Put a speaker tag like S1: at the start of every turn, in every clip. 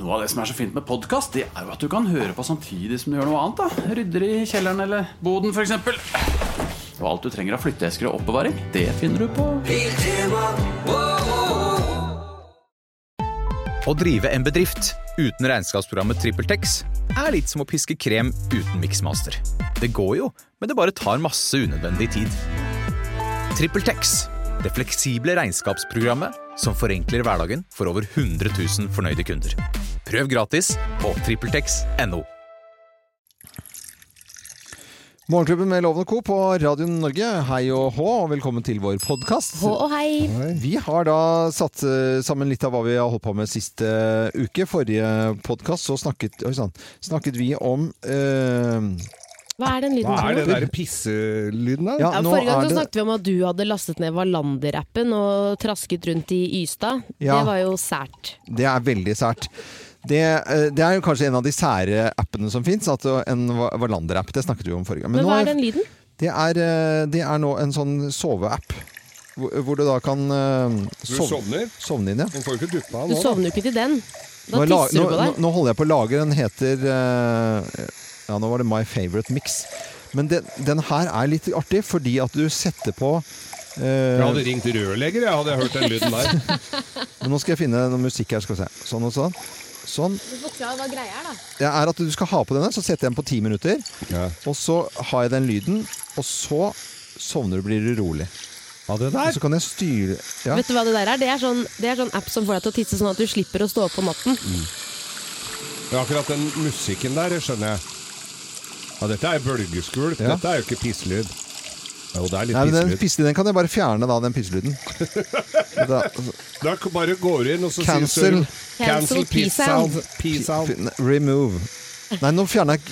S1: Noe av det som er så fint med podkast, det er jo at du kan høre på samtidig som du gjør noe annet. da Rydder i kjelleren eller boden, f.eks. Og alt du trenger av flytteesker og oppbevaring, det finner du på
S2: Å drive en bedrift uten regnskapsprogrammet TrippelTex er litt som å piske krem uten miksmaster. Det går jo, men det bare tar masse unødvendig tid. TrippelTex det fleksible regnskapsprogrammet som forenkler hverdagen for over 100 000 fornøyde kunder. Prøv gratis på TrippelTex.no.
S3: Morgenklubben med Loven og Co. på Radio Norge. Hei og hå, og velkommen til vår podkast.
S4: Hå og hei.
S3: Vi har da satt eh, sammen litt av hva vi har holdt på med siste eh, uke. Forrige podkast så snakket, oi, sann, snakket vi om eh,
S4: Hva er den lyden
S5: Hva
S4: som
S5: er det
S4: går?
S5: der pisselyden der?
S3: ja,
S4: Ja,
S3: nå
S4: forrige gang
S3: er
S4: så
S3: det-
S4: snakket vi om at du hadde lastet ned Wallander-appen og trasket rundt i Ystad.
S3: Ja.
S4: Det var jo sært.
S3: Det er veldig sært. Det, eh, det er jo kanskje en av de sære appene som fins. En Wa- Wallander-app. Det snakket vi om forrige gang.
S4: Men
S3: nå
S4: hva
S3: er-
S4: er den lyden?
S3: Det er, eh, det er nå en sånn soveapp. Hvor, hvor du da kan eh,
S5: Du
S3: sov-
S5: sovner.
S3: sovne inn, ja.
S5: Den får jo ikke duppa
S4: Du
S5: nå. da.
S4: sovner jo ikke til den. Da
S3: Nå, la-
S4: tisser du
S3: nå-
S4: på
S3: nå,
S4: deg.
S3: nå holder jeg på å lage Den heter eh, Ja, nå var det My Favorite Mix. Men den, den her er litt artig, fordi at du setter på eh,
S5: Jeg hadde ringt rørlegger, jeg hadde hørt den lyden der.
S3: Nå skal jeg finne noe musikk her. skal vi se. Sånn og sånn. Sånn.
S4: Du forklarer hva greia er, da.
S3: Det er at du skal ha på denne, så setter jeg den på ti minutter.
S5: Ja.
S3: Og så har jeg den lyden, og så sovner du, blir du rolig.
S5: det
S3: Og så kan jeg styre ja.
S4: Vet du hva det der er? Det er sånn, det er sånn app som får deg til å tisse sånn at du slipper å stå opp om natten.
S5: Ja, akkurat den musikken der, det skjønner jeg. Ja, dette er bølgeskvulp.
S3: Ja.
S5: Dette er jo ikke pisslyd. Jo, det er litt
S3: Nei, men den
S5: pisslyd.
S3: pisselyden kan jeg bare fjerne, da, den pisselyden. Da-
S5: Da k- bare går du inn og så
S3: Cancel.
S5: sier du
S4: Cancel
S5: P-sound. P-sound.
S3: Remove. Nei, nå fjerner jeg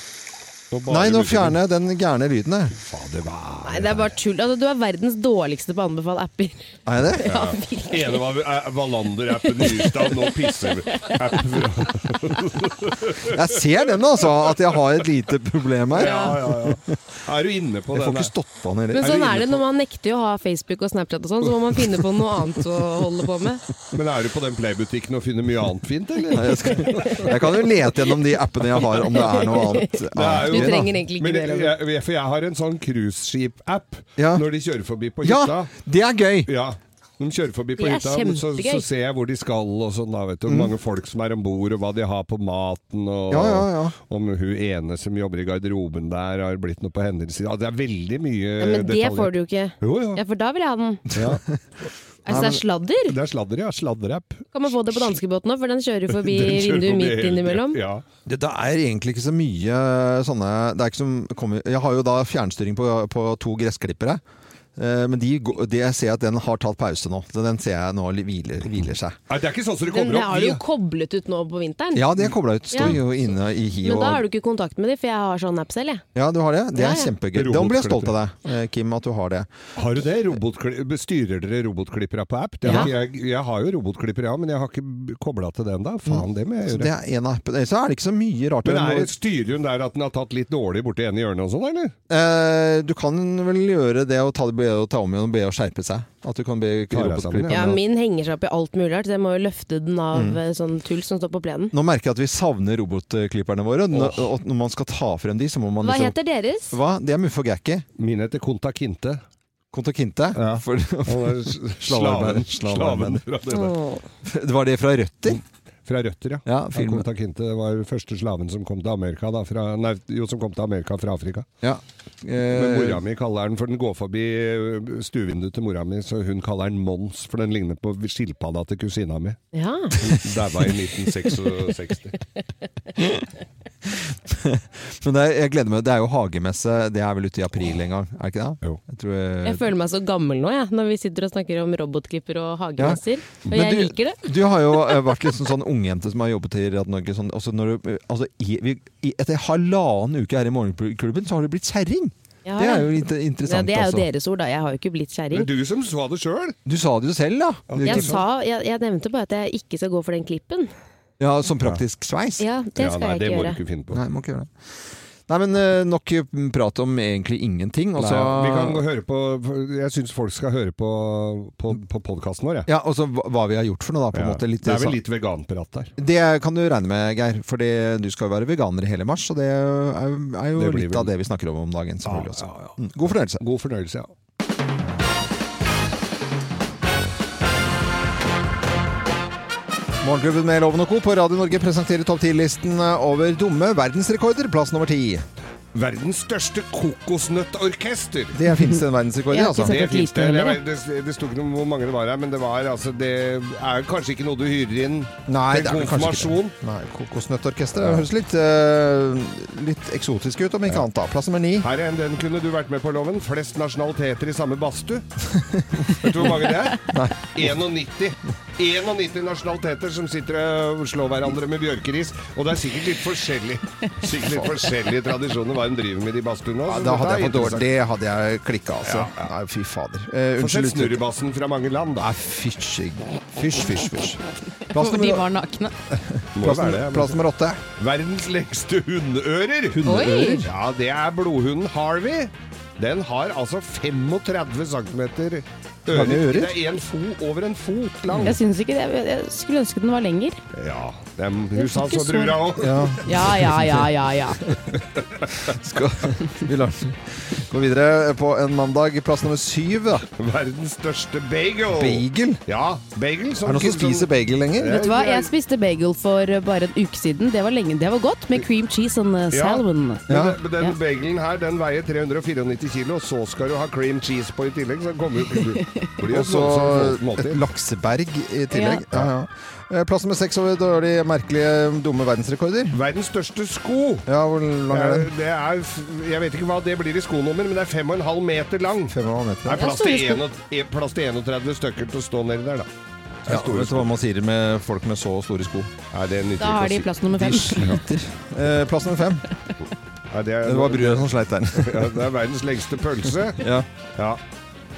S5: Og bare
S3: Nei, nå
S5: lyden.
S3: fjerner jeg den gærne lyden, jeg.
S5: Fader, hva er
S4: Nei, det er bare tull. Altså, du er verdens dårligste på å anbefale apper.
S3: Er jeg det?
S4: Ja, virkelig.
S5: det? ene var eh, Wallander-appen i Ystad, nå pisser vi. App-
S3: Jeg ser den, altså, at jeg har et lite problem her.
S5: Ja, ja, ja. Er du inne på
S3: Jeg får
S5: den?
S3: ikke stått på den
S4: Men
S3: heller.
S5: Er du
S4: sånn
S5: inne
S4: er det
S5: på-
S4: når man nekter å ha Facebook og Snapchat og sånn, så må man finne på noe annet å holde på
S3: Eh,
S4: med.
S5: Men er du på den playbutikken og finner mye annet fint, eller?
S3: Nei, Jeg, skal, jeg kan jo lete gjennom de appene jeg har, om det er noe annet. annet
S4: Du
S5: er jo-
S3: i, da.
S4: trenger egentlig ikke
S5: Men
S4: det.
S5: jeg,
S4: Loven.
S5: jeg, for jeg har en sånn cruiseskip-app
S3: Ja.
S5: når de kjører forbi på
S3: Ja,
S5: hytta.
S3: det er gøy!
S5: Ja. De kjører forbi på
S4: Det er
S5: hytta, så, så
S4: kjempegøy.
S5: ser jeg hvor de skal og sånn. da, vet du. Hvor mange folk som er om bord, og hva de har på maten. Og
S3: Mm. Ja, ja, ja.
S5: om hun ene som jobber i garderoben der, har blitt noe på hennes side. Ja, det er veldig mye
S4: Ja, men det
S5: detaljer.
S4: får du jo ikke.
S5: Jo,
S4: Ja,
S5: ja.
S4: for da vil jeg ha den.
S5: ja.
S4: Altså, det er sladder.
S5: Det er sladder, ja. Sladderapp.
S4: Kan man få det på danskebåten òg, for den kjører forbi
S5: Den kjører
S4: vinduet
S5: forbi
S4: mitt
S5: hele
S4: innimellom.
S5: tiden. Ja.
S3: Det, det er egentlig ikke så mye eh, sånne det er ikke som, kommer- Jeg har jo da fjernstyring på, på to gressklippere. Eh, Men de, gå- det jeg ser at den har tatt pause nå. Så den ser jeg nå li- hviler, hviler seg.
S5: Nei, det er ikke sånn som det
S4: Den
S5: kommer opp.
S4: har du jo koblet ut nå på vinteren.
S3: Ja, det kobla ut. Står
S4: Ja.
S3: jo inne i hi
S4: Men
S3: og
S4: da har du ikke kontakt med dem, for jeg har sånn app selv, jeg.
S3: Ja, du har det? Det
S4: Ja,
S3: er
S4: ja.
S3: kjempegøy. Da blir jeg stolt av deg, eh, Kim, at du har det.
S5: Har du det? Robotkli- Styrer dere robotklippere på app? Det
S4: Ja.
S5: har ikke jeg, jeg har jo robotklippere, ja, men jeg har ikke kobla til den da. Faen, det må jeg
S3: Så Mm.
S5: gjøre.
S3: det er en av appene. Så er det ikke så mye rart.
S5: Men er det styrer hun der at den har tatt litt dårlig borti ene hjørnet og sånn, eller?
S3: Eh, Du kan vel gjøre det å ta, det- be, å ta om igjen og be å skjerpe seg. At du kan be
S5: Ta deg sammen,
S3: robotklipperen
S4: Ja,
S3: om å-
S4: min henger seg opp i alt mulig rart, så jeg må jo løfte den av eh, sånn tull som står på plenen.
S3: Nå merker jeg at vi savner robotklipperne våre. Når, og når man skal ta frem de, så må man
S4: Hva
S3: liksom
S4: heter deres?
S3: Hva? Det er Muffe og Gækki.
S5: Min heter Konta Kinte.
S3: Konto Kinte.
S5: Ja.
S3: For,
S5: Han er
S3: Slavearbeider.
S5: Slaven. Slaven fra, det-
S4: Åh.
S3: det var det fra Røtter?
S5: fra Røtter, ja.
S3: Ja, filmen.
S5: Konta Kinte var første slaven som kom til Amerika, da, fra, nei, jo, som kom til Amerika fra Afrika.
S3: Ja.
S5: Men
S3: Eh,
S5: mora mi kaller den, for den går forbi eh, stuevinduet til mora mi, så hun kaller den Mons, for den ligner på skilpadda til kusina mi.
S4: Ja.
S5: Der var jeg i 1966.
S3: men det er, jeg gleder meg. Det er jo hagemesse. Det er vel ute i april en gang, er det ikke det?
S5: Jo.
S3: Jeg tror eh, jeg,
S4: Jeg føler meg så gammel nå, jeg, når vi sitter og snakker om robotklipper og hagemesser. Og
S3: Men
S4: jeg
S3: du,
S4: liker det.
S3: Du har jo eh, vært liksom sånn ungjente som har jobbet i Radio Norge. Sånn, også når du, eh, altså, i, vi, i, etter halvannen uke her i Morgenklubben, så har du blitt kjerring!
S4: Ja,
S3: det er
S4: ja.
S3: jo litt
S4: Ja,
S3: interessant.
S4: det er jo
S3: altså.
S4: deres ord, da. Jeg har jo ikke blitt
S5: Det er
S4: kjerring.
S5: du som sa det sjøl!
S3: Du sa det jo selv, da. Du,
S4: Jeg,
S3: ikke-
S4: sa, jeg, jeg nevnte bare at jeg ikke skal gå for den klippen.
S3: ja, som praktisk sveis.
S4: Ja, det skal
S5: nei,
S4: jeg
S5: det
S4: ikke
S5: må du
S4: gjøre.
S5: ikke finne på.
S3: Nei, må ikke gjøre det. Nei, men eh, nok prat om egentlig ingenting. Og så
S5: Nei, altså, vi kan gå og høre på Jeg syns folk skal høre på, på, på podkasten vår, jeg.
S3: Ja, og så hva hva vi har gjort for noe, da. på en
S5: Ja.
S3: måte litt,
S5: det er
S3: sa-
S5: vel litt veganprat der.
S3: Det kan du regne med, Geir. For det- du skal jo være veganer i hele mars. Og det er, er jo
S5: Det blir
S3: litt
S5: vel- Ah,
S3: av det vi snakker om om dagen. selvfølgelig
S5: Ja,
S3: også.
S5: ja, ja.
S3: Mm, God fornøyelse.
S5: Altså. God fornøyelse, ja.
S3: Morgenklubben med Loven og Co. på Radio Norge presenterer topp 10-listen over dumme verdensrekorder. Plass nummer ti.
S5: Verdens største kokosnøttorkester.
S3: Det finnes det en verdensrekord i,
S6: Jeg har ikke
S3: altså.
S6: sett-
S5: Det,
S6: et
S5: finnes
S6: lite
S5: det,
S6: heller,
S5: Jeg vet- det, det sto ikke noe om hvor mange det var her, men det var altså Det er kanskje ikke noe du hyrer inn
S3: Nei, det er
S5: til
S3: vel kanskje ikke
S5: konfirmasjon.
S3: det. Nei, Kokosnøttorkester det høres litt, eh, litt eksotisk ut, om ikke annet. da. Plass nummer ni.
S5: Her er en den kunne du vært med på, Loven. Flest nasjonaliteter i samme badstue. Vet du hvor mange det er? 91. 91 nasjonaliteter som sitter og slår hverandre med bjørkeris. Og det er sikkert litt forskjellig Sikkert litt forskjellige tradisjoner hva en driver med i de badstuene
S3: Ja,
S5: også.
S3: da hadde
S5: Dette er altså.
S3: jeg fått dårlig.
S5: interessant.
S3: Det hadde jeg klikka, altså. Nei, fy fader. Eh,
S5: Få sett
S3: unnskyld uttrykket.
S5: snurrebassen fra mange land, da.
S3: Nei, fysj. Fysj, fysj, fysj. Plass
S7: For de
S3: nummer,
S7: var nakne.
S5: Må
S3: plass,
S5: være det, men-
S3: plass nummer åtte.
S5: Verdens lengste hundeører.
S7: Hundeører? Oi.
S5: Ja, det er blodhunden Harvey. Den har altså 35 cm ører.
S3: Lange ører?
S5: Det er en fo over en fot lang.
S6: Jeg syns ikke det. Jeg- Jeg skulle ønske den var lenger.
S5: Ja, dem husa
S6: ikke
S5: så
S6: så-
S5: brura òg.
S3: Ja,
S6: Ja, ja, ja, ja. ja.
S3: skal vi lar den gå videre på en mandag. Plass nummer syv. Da.
S5: Verdens største bagel.
S3: Bagel.
S5: Ja, bagel. Som
S3: Er det noen som spiser bagel lenger?
S6: Vet du hva, jeg spiste bagel for eh, bare en uke siden. Det var lenge. Det var godt med cream cheese and eh,
S5: Ja.
S6: salmon.
S5: Men
S3: Ja.
S5: den- den bagelen her den veier 394 kilo, og så skal du ha cream cheese på i tillegg. Så kommer du blir jo
S3: Og så
S5: et voldsomt
S3: et
S5: måltid.
S3: lakseberg i tillegg. Ja, ja. Eh, Plass nummer seks over dårlige, merkelige, dumme verdensrekorder.
S5: Verdens største sko.
S3: Ja, hvor lang er den?
S5: Det er- det er, f- jeg vet ikke hva det blir i skonummer, men det er 5,5 meter lang. Det
S3: Fem og en halv meter.
S5: er plass
S6: store
S5: til,
S6: sko.
S5: en, og- e- plass til 31 stykker til å stå nedi der, da.
S3: Ja, vet du hva man sier med folk med så store sko?
S5: Nei, det nytter
S6: Da har de
S5: ikke å si.
S6: plass nummer fem.
S3: Sliter. Eh, Plass nummer fem.
S5: Nei, det,
S3: Det var
S5: er,
S3: brura som sleit der.
S5: ja, det er verdens lengste pølse.
S3: Ja.
S5: Ja.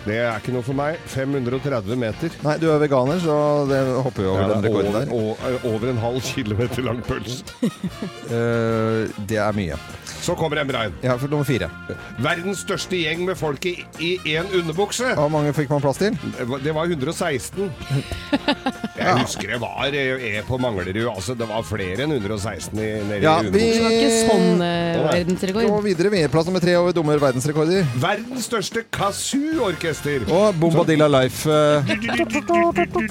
S5: Det er ikke noe for meg. 530 meter.
S3: Nei, du er veganer, så det hopper jo over
S5: Ja,
S3: den
S5: det er
S3: rekorden der.
S5: over, o- eh, over en halv kilometer lang pølse.
S3: Eh, det er mye.
S5: Så kommer en brein.
S3: Ja, for nummer fire.
S5: Verdens største gjeng med folk i én underbukse.
S3: Hvor mange fikk man plass til?
S5: Det var 116. Jeg husker det var eh, på Manglerud. Altså, det var flere enn 116 i, nede
S3: Ja,
S5: i
S6: Det
S3: vi-
S5: Uno.
S6: var ikke sånn eh,
S5: Nei.
S3: Gå
S6: verdensrekord.
S3: videre med plass nummer tre over dumme verdensrekorder.
S5: Verdens største kazoo-orkester.
S3: Og Bombadilla Life. eh,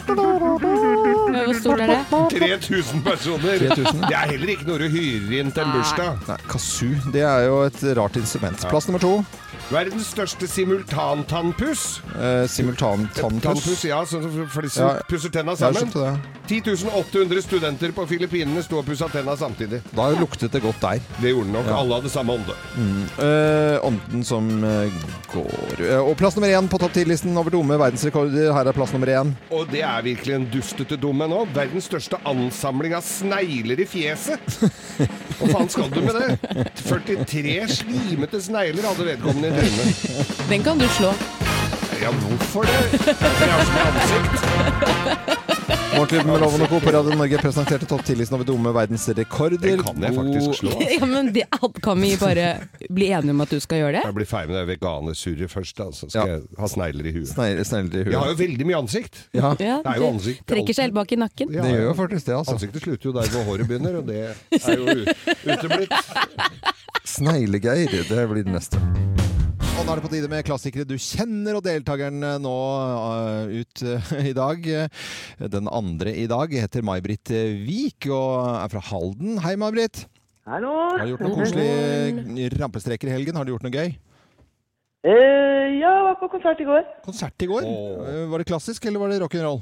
S5: 3000
S6: Hvor stort er det?
S5: personer.
S3: 3000.
S5: Det er heller ikke noe du hyrer inn til en
S7: Nei.
S5: bursdag.
S3: Nei, kazoo. Det er jo et rart instrument. Plass nummer to.
S5: Verdens største simultantannpuss.
S3: Eh, Simultantannpuss.
S5: Tannpuss, ja, sånn som for de
S3: Ja.
S5: som pusser tenna
S3: Jeg
S5: sammen.
S3: skjønte det.
S5: 10.800 studenter på Filippinene sto og pussa tenna samtidig.
S3: Da luktet det godt der.
S5: Det gjorde nok.
S3: Ja.
S5: Alle hadde samme ånde.
S3: Eh, ånden som eh, går Eh, Og plass nummer én på topp 10-listen over dumme verdensrekorder. Her er plass nummer én.
S5: Og det er virkelig en dustete dumme nå. Verdens største ansamling av snegler i fjeset. Hva faen skal du med det? 43 slimete snegler hadde vedkommende i trynet.
S6: Den kan du slå.
S5: Ja, hvorfor det? For jeg har så mye ansikt.
S3: Morgenklubben med Loven og Co. på Radio Norge presenterte topp 10-listen over dumme verdensrekorder.
S5: Den kan jeg
S3: God-
S5: faktisk slå.
S6: Ja, men det, Kan vi bare bli enige om at du skal gjøre det?
S5: Jeg blir ferdig med det veganersurret først, altså.
S3: Ja.
S5: Skal jeg ha snegler i huet.
S3: Snegler snegler i
S5: Jeg har
S3: huet.
S5: jo veldig mye ansikt.
S3: Ja,
S6: Ja,
S5: Det er jo ansikt.
S6: Trekker seg helt bak i nakken.
S5: Ja,
S3: det gjør
S5: ja.
S3: jo faktisk det, altså.
S5: Ansiktet slutter jo der hvor håret begynner, og det er jo u- uteblitt.
S3: Sneglegeir, det blir det neste. Og nå er det på tide med klassikere du kjenner, og deltakeren eh, nå eh, ut eh, i dag. eh, Den andre i dag heter May-Britt eh, Vik og er fra Halden. Hei, May-Britt.
S8: Hallo.
S3: Har du gjort noen koselige rampestreker i helgen? Har du gjort noe gøy?
S8: Eh, ja, jeg var på konsert i går.
S3: Konsert i går.
S5: Åh.
S3: Eh, Var det klassisk, eller var det rock'n'roll?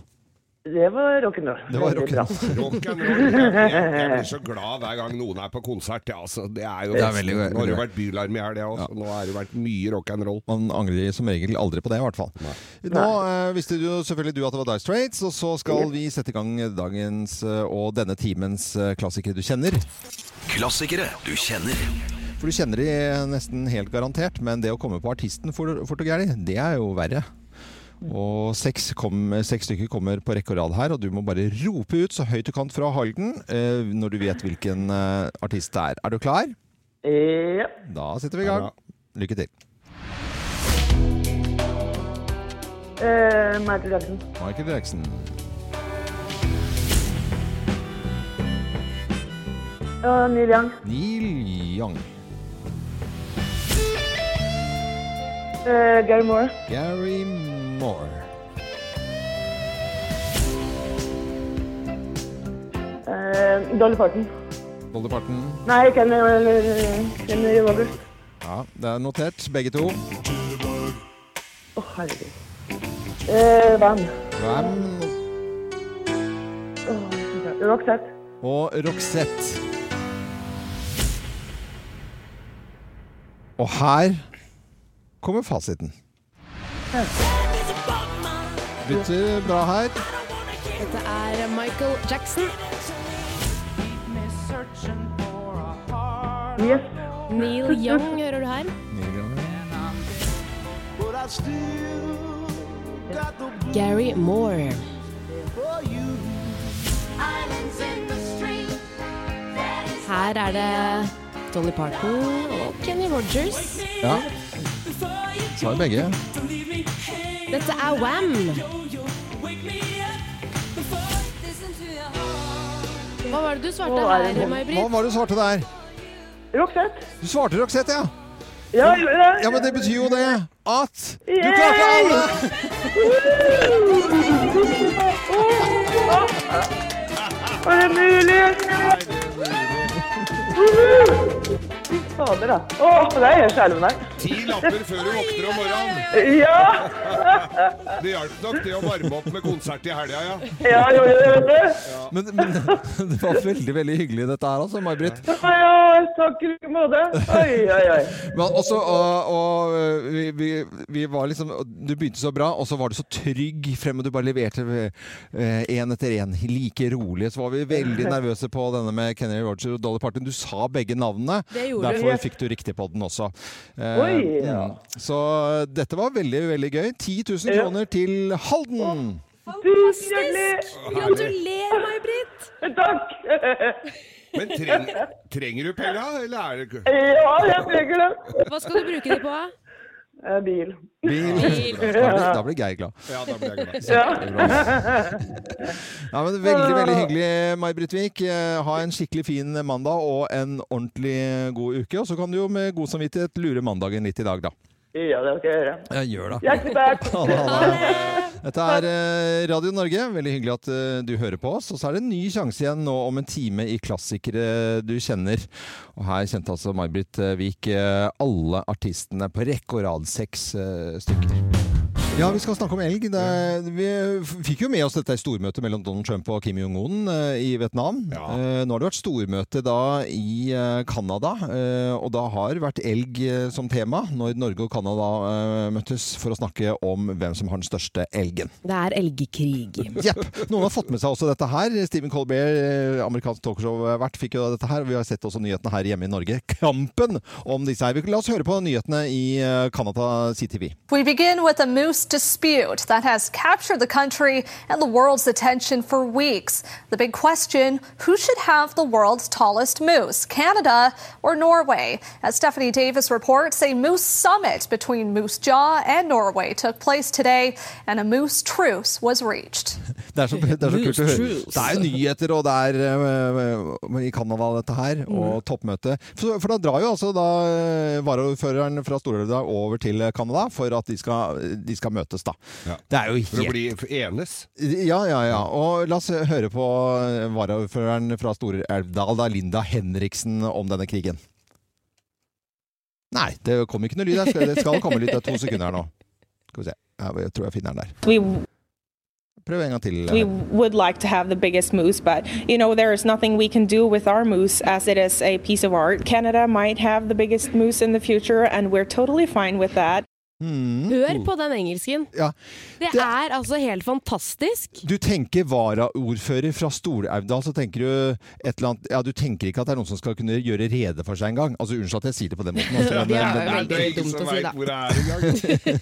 S8: Det var rock'n'roll.
S3: Det var
S8: Veldig bra.
S3: rock'n'roll.
S5: Rock and roll. Jeg, jeg blir så glad hver gang noen er på konsert. Ja, altså, det er jo
S3: Det er veldig-
S5: Nå har det
S3: veldig-
S5: jo vært bylarm i helga også. Nå har det vært mye rock and roll.
S3: Man angrer som regel aldri på det, i hvert fall. Nå eh, visste jo selvfølgelig du at det var Dice Straits, og så skal vi sette i gang dagens eh, og denne timens eh, klassikere du kjenner.
S9: Klassikere du kjenner.
S3: For du kjenner de eh, nesten helt garantert, men det å komme på artisten for- fort og gærlig, det er jo verre. Og seks, kom, seks stykker kommer på rekke og rad her, og du må bare rope ut så høyt du kan fra Halden eh, når du vet hvilken eh, artist det er. Er du klar?
S10: Ja.
S3: Da setter vi i gang.
S5: Ja.
S3: Lykke til.
S10: Eh, Michael Jackson.
S3: Michael Jackson.
S10: Ja, Neil Young.
S3: Neil Young.
S10: Eh, Gary Moore.
S3: Gary Moore.
S10: Eh, Dolly Parton.
S3: Dolly Parton.
S10: Nei, Kenny, eh, Kenny Rogers.
S3: Ja, det er notert, begge to.
S10: Å, herregud. Eh, Van.
S3: Ram
S10: Roxette.
S3: og Roxette. Og her kommer fasiten. Bytter bra her.
S4: Dette er Michael Jackson,
S10: Yes.
S4: Neil Young, hører du her. Gary Moore. Her er det Dolly Parton og Kenny Rogers.
S3: Ja. Så er begge.
S4: Dette er Wham! Hva var det du svarte
S10: Å, er det
S4: her,
S10: noe-
S3: Hva
S4: May-Britt?
S3: var det du svarte der?
S10: Roxette.
S3: Du svarte Roxette, ja.
S10: Ja, jeg gjorde det.
S3: Ja, Men det betyr jo det at du klarte alle!
S10: Var det mulig? Fy fader, da. Å, det er helt skjelven her.
S5: Ti lapper før du våkner om morgenen.
S10: Ja!
S5: Det hjalp nok det å varme opp med konsert i helga, ja.
S10: Ja, jeg gjorde det, vet du.
S3: Men, men det var veldig veldig hyggelig dette her, altså, May-Britt.
S10: Ja, ja, takk i like måte. Oi, oi, oi.
S3: Men også, og, og eh, vi, vi, vi var liksom Du begynte så bra, og så var du så trygg frem, og du bare leverte én etter én. Like rolig. Så var vi veldig nervøse på denne med Kenny Roger og Dolly Parton. Du sa begge navnene.
S4: Det gjorde du.
S3: Derfor fikk du riktig på den også. Eh,
S10: Oi, ja.
S3: mm. Så dette var veldig, veldig gøy. 10 000
S10: Ja.
S3: kroner til Halden!
S10: Tusen hjertelig.
S4: Gratulerer, May-Britt!
S10: Takk.
S5: Men treng, trenger du penga, eller er det
S10: Ja, jeg trenger det.
S4: Hva skal du bruke det på?
S10: Eh, Bil.
S3: Bil. Da blir, da blir Geir glad.
S5: Ja, da blir jeg glad.
S3: Ja, men Veldig veldig hyggelig, May-Britt Wiik. Eh, Ha en skikkelig fin mandag og en ordentlig god uke. Og så kan du jo med god samvittighet lure mandagen litt i dag, da.
S10: Ja, det skal jeg gjøre.
S3: gjør det.
S10: Hjertelig takk.
S3: Dette er eh, Radio Norge. Veldig hyggelig at eh, du hører på oss. Og så er det en ny sjanse igjen nå om en time i klassikere du kjenner. Og her kjente altså May-Britt eh, Wiik eh, alle artistene på rekke og rad. Seks eh, stykker. Ja, vi skal snakke om elg. Det er, vi f- fikk jo med oss dette i stormøtet mellom Donald Trump og Kim Jong-un eh, i Vietnam. Eh, Nå har det vært stormøte da i eh, Canada, eh, og da har det vært elg eh, som tema når Norge og Canada eh, møttes for å snakke om hvem som har den største elgen.
S4: Det er elgkrig.
S3: Jepp. Noen har fått med seg også dette her. Stephen Colbert, eh, amerikansk talkshow-vert, fikk jo dette her. og Vi har sett også nyhetene her hjemme i Norge. Kampen om disse her. Vi- La oss høre på nyhetene i eh, Canada CTV.
S7: We begin with a moose dispute that has captured the country and the world's attention for weeks. The big question who should have the world's tallest moose, Canada or Norway? As Stephanie Davis reports, a moose summit between Moose Jaw and Norway took place today, and a moose truce was reached.
S3: Det er så, det er så kult å
S4: News
S3: høre.
S4: truth.
S3: Det er jo nyheter, og det er øh, øh, i Canada dette her, og toppmøte. For, for da drar jo altså da øh, varaordføreren fra Storelva over til Canada for at de skal, de skal møtes, da.
S5: Ja.
S3: Det er jo
S5: For å
S3: helt
S5: bli enes?
S3: ja, ja, ja. Og la oss høre på øh, varaordføreren fra Stor-Elvdal, da, Linda Henriksen, om denne krigen. Nei, det kom ikke noe lyd her. Det skal komme lyd. Det er to sekunder her nå. Skal vi se. Jeg tror jeg finner den der.
S11: We
S3: Prøv en gang til.
S11: we would like to have the biggest moose, but you know there is nothing we can do with our moose as it is a piece of art. Canada might have the biggest moose in the future, and we're totally fine with that.
S4: Hør på den engelsken.
S3: Mm. Ja.
S4: Det
S3: Det-
S4: er altså helt fantastisk.
S3: Du tenker varaordfører fra Stor-Elvdal, så tenker du et eller annet Ja, du tenker ikke at det er noen som skal kunne gjøre rede for seg engang. Altså, unnskyld at jeg sier det på den måten, altså,
S4: Det
S3: men,
S4: er jo
S5: det er
S4: veldig
S5: ingen
S4: dumt
S5: som
S4: å si,
S5: veit
S4: da.
S5: hvor det er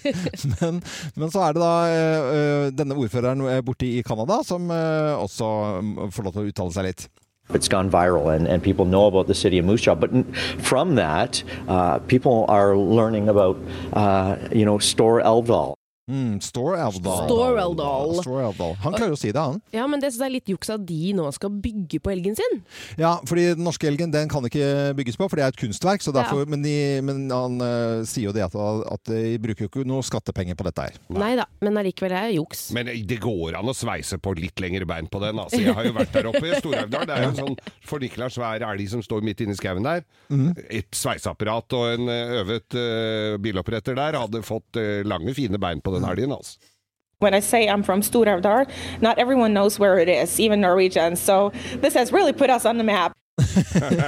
S5: engang.
S3: men, men så er det da eh, eh, denne ordføreren eh, borte i Canada som eh, også mm, får lov til å uttale seg litt.
S12: It's gone viral, and, and people know about the city of Moose Jaw. But n- from that, uh, people are learning about, uh, you know, Store Elvdal.
S3: Mm, Store Elvdal.
S4: Store Elvdal.
S3: Store Elvdal. Han klarer å si det, han.
S4: Ja, men det synes jeg er litt juks at de nå skal bygge på elgen sin.
S3: Ja, fordi den norske elgen den kan ikke bygges på, for det er et kunstverk. Så derfor,
S4: Ja.
S3: men, de, men han eh, sier jo det at, at de bruker jo ikke noe skattepenger på dette her.
S4: Nei da, men allikevel er det juks.
S5: Men eh, det går an å sveise på litt lengre bein på den. Altså, jeg har jo vært der oppe i Stor-Elvdal. Det er jo en sånn fornikla svær elg som står midt inni skauen der.
S4: Mhm.
S5: Et sveiseapparat og en eh, øvet eh, biloppretter der hadde fått eh, lange, fine bein på den elgen. Altså.
S11: When I say I'm from Stor-Elvdal, not everyone knows where it is, even Norwegians. So this has really put us on the map.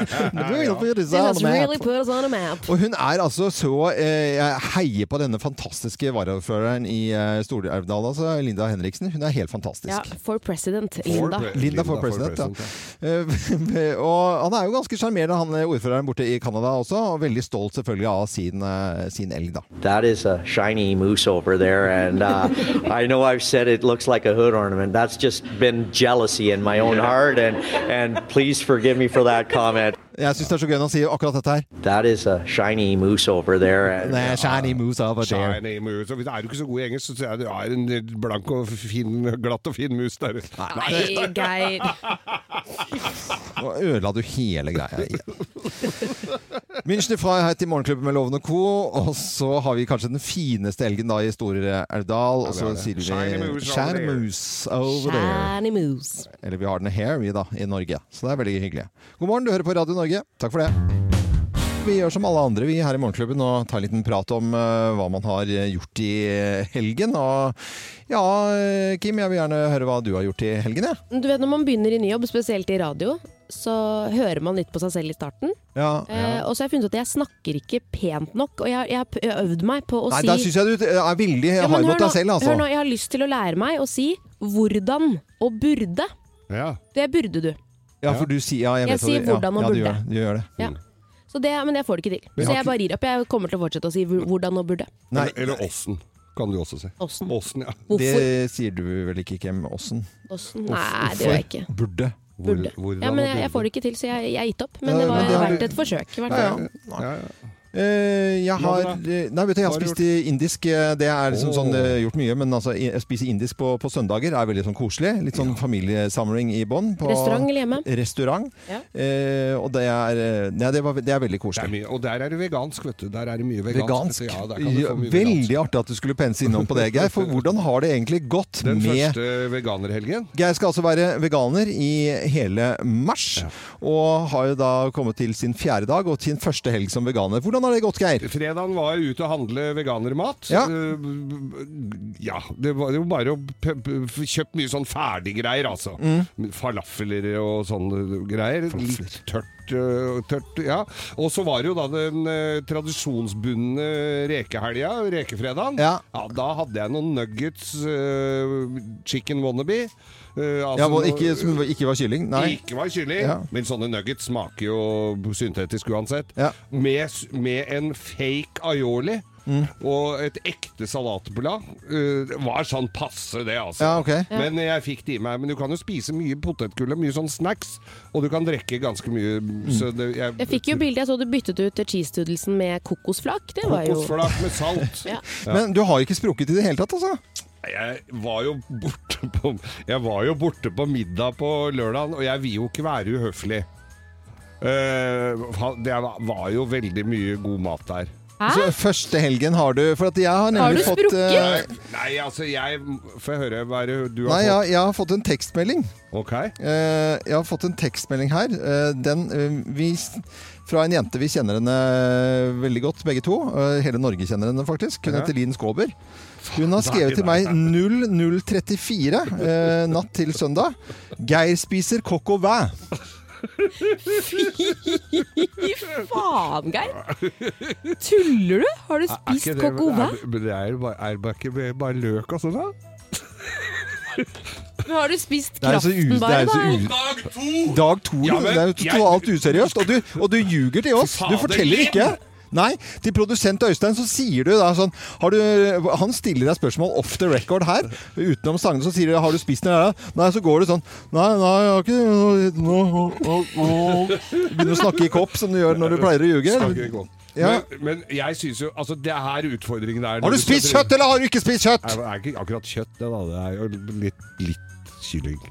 S4: They just really put us on a map.
S3: Og hun er altså så eh, Jeg heier på denne fantastiske varaordføreren i eh, Stor-Elvdal, altså Linda Henriksen. Hun er helt fantastisk.
S4: Ja, for president,
S3: For
S4: Linda.
S3: pre- Linda for president, ja. Eh, og han er jo ganske sjarmerende, han eh, ordføreren borte i Canada også. Og veldig stolt selvfølgelig av sin, eh, sin elg, da.
S12: That is a shiny moose over there, and uh, I know I've said it looks like a hood ornament. That's just been jealousy in my own heart, and, and please forgive me for that comment.
S3: Jeg syns det er så gøy når han sier akkurat dette her.
S12: That is a shiny moose over there. And,
S3: Nei, shiny moose over there.
S5: Shiny moose. Og hvis- Er du ikke så god i engelsk, så sier jeg du er en blank og fin, glatt og fin mus der.
S4: Nei, Geir.
S3: Nå ødela du hele greia igjen. München Frey heter i Morgenklubben med Loven og Co. Og så har vi kanskje den fineste elgen da i Stor-Elvdal. Og så
S5: det.
S3: sier vi
S5: Shiny moose over
S3: Shiny
S5: there.
S3: moose over there.
S4: Shiny moose.
S3: Eller vi har den her, vi da, i Norge. Så det er veldig hyggelig. God morgen, du hører på Radio Norge. Takk for det. Vi gjør som alle andre vi her i Morgenklubben og tar en liten prat om eh, hva man har eh, gjort i eh, helgen. Og ja, eh, Kim, jeg vil gjerne høre hva du har gjort i helgen, jeg.
S4: Du vet når man begynner i ny jobb, spesielt i radio, så hører man litt på seg selv i starten.
S3: Ja.
S4: Eh, og så har jeg funnet ut at jeg snakker ikke pent nok, og jeg, jeg, har p- jeg har øvd meg på å
S3: Nei,
S4: si
S3: der syns jeg du eh, er veldig
S4: Ja, men
S3: hard mot
S4: hør nå,
S3: deg selv, altså.
S4: hør nå, jeg har lyst til å lære meg å si hvordan og burde.
S5: Ja.
S4: Det burde du.
S3: Ja, for du sier ja, jeg,
S4: Jeg
S3: vet hva
S4: sier
S3: du- ja,
S4: hvordan og
S3: ja, du
S4: burde.
S3: Gjør, du gjør det.
S4: Ja. Så det, men jeg får det ikke til. Så jeg bare gir opp. Jeg kommer til å fortsette å si hvor- hvordan og burde.
S3: Nei,
S5: Eller- Eller åssen, kan du også si.
S4: Åssen.
S5: Åssen, ja.
S4: Hvorfor?
S3: det sier du vel ikke, Kim Åssen?
S4: Åssen? Nei, det gjør jeg ikke.
S3: Burde.
S5: Hvor-
S4: Burde.
S5: hvordan
S4: Ja, men
S5: og
S4: jeg, jeg
S5: burde.
S4: får det ikke til, så jeg, jeg har gitt opp. Men
S3: Ja,
S4: det
S3: men
S4: var
S3: det har
S4: verdt
S3: du-
S4: et forsøk. i
S3: Ja,
S4: hvert
S3: ja.
S4: fall.
S5: Ja, ja.
S3: Eh, jeg har
S5: Hva
S3: eh, Nei, vet du, jeg har
S5: Hva har du
S3: spist i indisk. eh, Det er liksom
S5: Åh.
S3: sånn eh, gjort mye, men altså i- å spise indisk på, på søndager er veldig sånn koselig. Litt sånn familiesamling i bånn. på-
S4: Restaurant eller hjemme?
S3: Restaurant.
S4: Ja.
S3: Eh, og det er eh, Nei, det, var, det er veldig
S5: Det er
S3: koselig.
S5: mye, og der er det vegansk, vet du. Der er det mye vegansk.
S3: Vegansk.
S5: vet du. Ja, der kan du
S3: Ja,
S5: få mye vegansk.
S3: veldig artig at du skulle pense innom på det, Geir. For hvordan har det egentlig gått
S5: Den
S3: med
S5: første veganerhelgen.
S3: Geir skal altså være veganer i hele mars, og har jo da kommet til sin fjerde dag og sin første helg som veganer. Hvordan har det gått, Geir?
S5: Fredagen var jeg ute og handle veganermat.
S3: Ja.
S5: Eh, ja det var jo bare å p- p- f- kjøpe mye sånn ferdiggreier, altså.
S3: Mm.
S5: Falafeler og sånne greier. Litt tørt. eh, tørt ja. Og så var det jo da den eh, tradisjonsbundne rekehelga, rekefredagen.
S3: Ja.
S5: da hadde jeg noen nuggets, eh, chicken wannabe. eh, altså
S3: Ja, hvor
S5: noe-
S3: ikke, som ikke var kylling? Nei.
S5: Ikke var kylling,
S3: Ja.
S5: men sånne nuggets smaker jo syntetisk uansett.
S3: Ja.
S5: Med, s- med en fake aioli
S3: Mm.
S5: og et ekte salatblad. eh, Det var sånn passe, det, altså.
S3: Ja, ok.
S5: Men jeg fikk det i meg. Men du kan jo spise mye potetgull og mye sånn snacks, og du kan drikke ganske mye.
S3: Mm.
S5: Så det, jeg,
S4: Jeg fikk jo bilde, jeg så du byttet ut cheese doodlesen med kokosflak. Det var jo
S5: Kokosflak med salt.
S4: Ja.
S3: Men du har ikke sprukket i det hele tatt, altså?
S5: Jeg var jo borte på Jeg var jo borte på middag på lørdagen, og jeg vil jo ikke være uhøflig. Eh, han- det var- var jo veldig mye god mat der.
S3: Så første helgen har du For at jeg har
S4: Har du
S3: nemlig fått eh,
S4: sprukket?
S5: Nei, altså, jeg Får jeg høre hva er det du har
S3: Nei,
S5: fått?
S3: jeg, jeg har fått en tekstmelding.
S5: Ok.
S3: Eh, jeg har fått en tekstmelding her. Eh, den, eh, vi, fra en jente vi kjenner henne eh, veldig godt, begge to. Eh, hele Norge kjenner henne, faktisk. Hun
S5: Ja.
S3: heter Linn Skåber. Hun har skrevet til meg 0034 eh, natt til søndag. Geir spiser coq au vin.
S4: Fy faen, Geir! Tuller du? Har du spist coq au vin?
S5: Er, det er, bare- er det ikke bare- bare løk og sånn, da?
S4: Men Har du spist
S3: Det er jo så u-
S4: kraften
S3: det er
S4: bare,
S3: jo så
S4: da?
S13: Dag to!
S3: u- Dag to,
S5: Ja,
S3: du.
S5: men
S3: det er jo
S5: jeg-
S3: totalt useriøst. Og du, og du ljuger til oss. Du
S5: Fader,
S3: forteller ikke. Nei, til produsent Øystein så sier du da sånn har du, Han stiller deg spørsmål off the record her, utenom sangene. Så sier du 'Har du spist den der?' Nei, så går du sånn Nei, nei, jeg har ikke nå, nå, nå, nå. Begynner å snakke i kopp, som du gjør når du pleier å
S5: Snakker i
S3: ljuge.
S5: kopp.
S3: Ja.
S5: Men, men jeg syns jo Altså, det er her utfordringen er.
S3: Har du spist kjøtt, eller har du ikke spist kjøtt?
S5: Nei, men Det er ikke akkurat kjøtt, det da. Det er jo litt, litt kylling.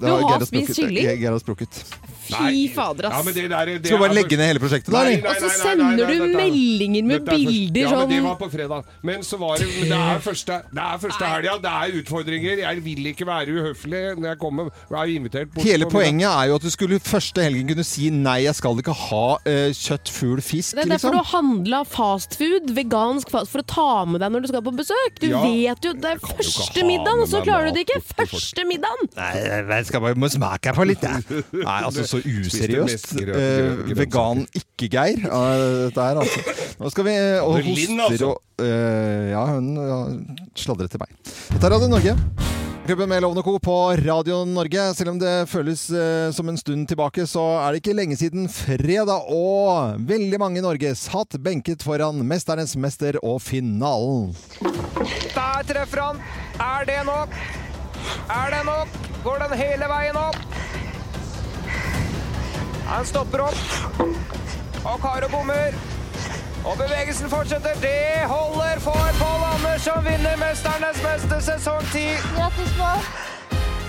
S3: Det var
S6: Du har
S3: Gerhard
S6: spist
S3: Sprukket.
S6: kylling?
S3: Ge- Gerhard Sprukket.
S6: Fy fader,
S5: Ja, men
S6: ass.
S5: det der, det
S3: Skal vi bare
S5: er- altså-
S3: legge ned hele prosjektet, da?
S5: Nei,
S3: eller?
S5: nei,
S6: Og så
S5: nei, nei, nei,
S6: sender
S5: nei,
S6: du
S5: dette er-
S6: meldinger med
S5: dette er første-
S6: bilder
S5: Ja, men det
S6: sånn
S5: var på fredag. Men så var det men Det er første, det er første helga, det er utfordringer. Jeg vil ikke være uhøflig når jeg kommer. Jeg er invitert bort
S3: Hele
S5: på middag.
S3: poenget er jo at du skulle første helgen kunne si 'nei, jeg skal ikke ha eh, kjøtt, fugl, fisk'.
S6: Det er derfor
S3: liksom.
S6: du har handla fastfood, vegansk fast, for å ta med deg når du skal på besøk. Du
S5: Ja.
S6: vet jo Det er
S5: kan jo ikke
S6: første
S5: ha
S6: middagen,
S5: med
S6: og så klarer
S5: meg
S6: du
S5: mat
S6: det ikke!
S5: opp til folk.
S6: Første middagen!
S3: Nei, jeg skal bare må smake på litt, jeg. Nei, altså så useriøst.
S5: mest
S3: Eh,
S5: grø- grø- grønnsaker.
S3: vegan ikke-Geir. dette her, altså. Nå skal vi Og
S5: Det er Linn,
S3: hoster
S5: altså.
S3: og eh, Ja, hun ja, sladret til meg. Dette er Radio Norge. Klubben med Lovende Co. på Radio Norge. Selv om det føles eh, som en stund tilbake, så er det ikke lenge siden fredag, og veldig mange i Norge satt benket foran Mesternes mester og finalen.
S14: Der treffer han. Er det nok? Er det nok? Går den hele veien opp? Han stopper opp. Og Karo bommer. Og bevegelsen fortsetter. Det holder for Pål Anders, som vinner 'Mesternes mester' sesong 10.
S8: Grattis, Pål.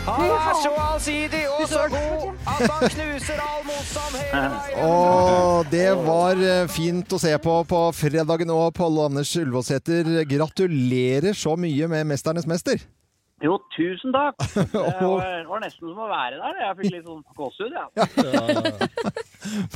S14: Han er så allsidig og så god at han knuser all motstand hele veien.
S3: Og det var eh, fint å se på på fredagen òg, Pål Anders Ullevålsæter. Gratulerer så mye med 'Mesternes mester'.
S10: Jo, tusen takk. Det
S3: Og-
S10: var, det var nesten som å være der. Jeg fikk litt sånn gåsehud, jeg.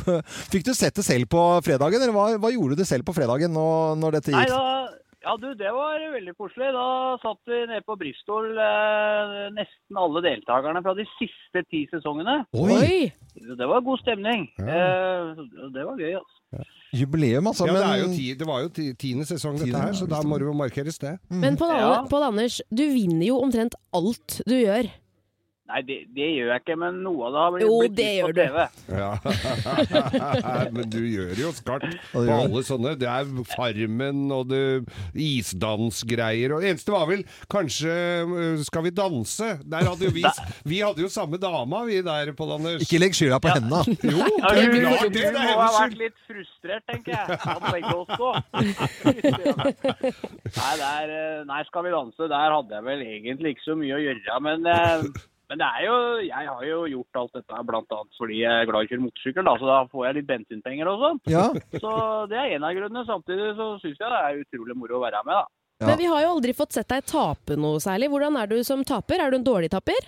S10: Ja.
S3: Fikk du sett det selv på fredagen, eller hva, hva gjorde du selv på fredagen når, når dette
S10: Nei,
S3: gikk?
S10: da, ja, du, det var veldig koselig. Da satt vi nede på Bristol, eh, nesten alle deltakerne fra de siste ti sesongene.
S6: Oi!
S10: Det var god stemning. Eh, det var gøy, altså.
S3: Jubileum, altså.
S5: Ja, det, er jo
S3: men
S5: ti, det var jo ti, tiende sesong, dette
S3: Tiende,
S5: her, så
S3: ja,
S5: da
S3: visst
S5: må det jo markeres, det.
S6: Men Pål
S10: Ja.
S6: Anne- Pål Anders, du vinner jo omtrent alt du gjør.
S10: Nei, det, det gjør jeg ikke, men noe av det har blitt,
S6: Jo,
S10: blitt
S6: det
S10: vist
S6: gjør
S10: på
S6: du.
S10: TV.
S5: Ja. Men du gjør jo skarpt på
S3: gjør
S5: alle sånne. Det er Farmen og det isdansgreier. Og det eneste var vel kanskje øh, Skal vi danse? Der hadde jo vi, vi hadde jo samme dama, vi der, Pål Anders.
S3: ikke legg skylda på henne, da.
S5: Jo,
S10: Ja,
S5: det er
S10: du,
S5: klart
S10: du
S5: det! Det er
S10: må ha
S5: hennes
S10: vært
S5: skyld.
S10: litt frustrert, tenker jeg. Han begge også. Nei, der, eh, nei, skal vi danse? Der hadde jeg vel egentlig ikke så mye å gjøre. Men, eh, men det er jo, jeg har jo gjort alt dette bl.a. fordi jeg er glad i å kjøre motorsykkel, da, så da får jeg litt bensinpenger og sånn.
S3: Ja.
S10: Så det er en av grunnene. Samtidig så syns jeg det er utrolig moro å være med, da.
S3: Ja.
S6: Men vi har jo aldri fått sett deg tape noe særlig. Hvordan er du som taper? Er du en dårlig taper?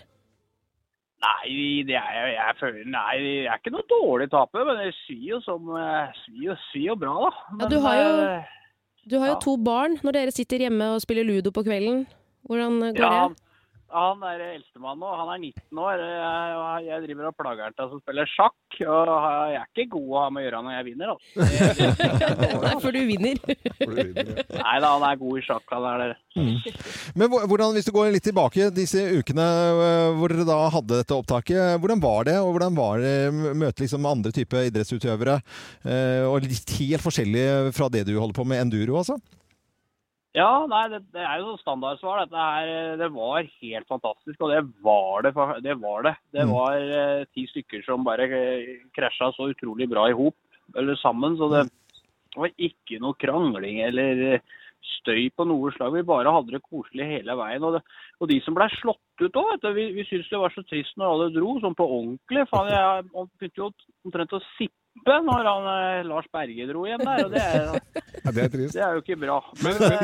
S10: Nei, det er, jeg, jeg føler, nei, jeg er ikke noe dårlig taper, men jeg sier jo som eh, sier jo, sier jo bra, da. Men,
S6: Ja, du har jo-
S10: eh,
S6: Du har jo
S10: Ja.
S6: to barn når dere sitter hjemme og spiller ludo på kvelden. Hvordan går
S10: Ja,
S6: det?
S10: han er eldstemann nå. Han er 19 år. Jeg, jeg driver og plager han til å spille sjakk. Og jeg er ikke god å ha med å gjøre når jeg vinner. Altså.
S6: Det er før du vinner.
S10: Nei da, han er god i sjakk. han er det.
S3: Men hvor- hvordan, hvis du går litt tilbake disse ukene øh, hvor dere da hadde dette opptaket, eh, hvordan var det? Og hvordan var det å møte liksom andre typer idrettsutøvere? eh, Og litt helt forskjellig fra det du holder på med enduro, altså?
S10: Ja, nei, det, det er jo sånn standardsvar. Dette her, det var helt fantastisk, og det var det. fa- Det var det. Det
S3: Mm.
S10: var eh, ti stykker som bare eh, krasja så utrolig bra i hop, eller sammen. Så
S5: Mm.
S10: det var ikke noe krangling eller eh, støy på noe slag. Vi bare hadde det koselig hele veien. Og, det, og de som ble slått ut òg, vet du. Vi, vi syntes det var så trist når alle dro, sånn på ordentlig. Faen, jeg han begynte jo omtrent å sippe når han eh, Lars Berge dro hjem der, og det er,
S5: Ja, det er trist.
S10: det er jo ikke bra. Eh,
S5: Men, men,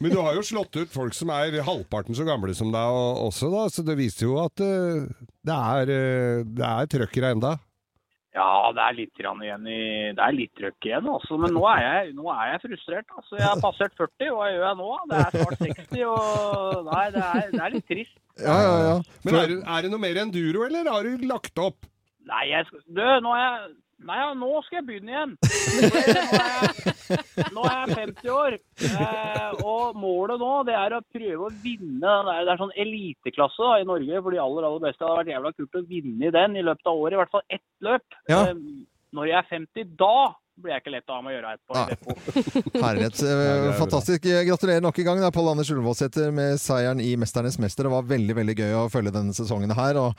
S5: men du har jo slått ut folk som er halvparten så gamle som deg og- også, da, så det viser jo at øh, det er, øh, det er trøkkere enda.
S10: Ja, det er litt grann igjen i Det er litt trøkk igjen, altså. Men nå er jeg, nå er jeg frustrert. Altså. Jeg har passert 40, hva gjør jeg nå? Det er snart 60, og Nei, det er, det er litt trist.
S3: Ja, ja, ja.
S5: Men er, det- er det noe mer enduro, eller har du lagt opp?
S10: Nei, jeg skal Du, nå er jeg Nei, ja, nå skal jeg begynne igjen. For Nå er jeg, nå er jeg 50 år, eh, og målet nå det er å prøve å vinne. den der- Det er sånn eliteklasse da, i Norge for de aller aller beste. Det hadde vært jævla kult å vinne i den i løpet av året. I hvert fall ett løp.
S3: Ja.
S10: Eh, Når jeg er 50, da blir jeg ikke lett av med å gjøre her på
S3: Nei.
S10: Aleppo.
S3: Herlighet. Eh, Fantastisk. Eh, Gratulerer nok en gang. Det er Pål Anders Ullevålsæter med seieren i 'Mesternes mester'. Det var veldig veldig gøy å følge denne sesongen her. Og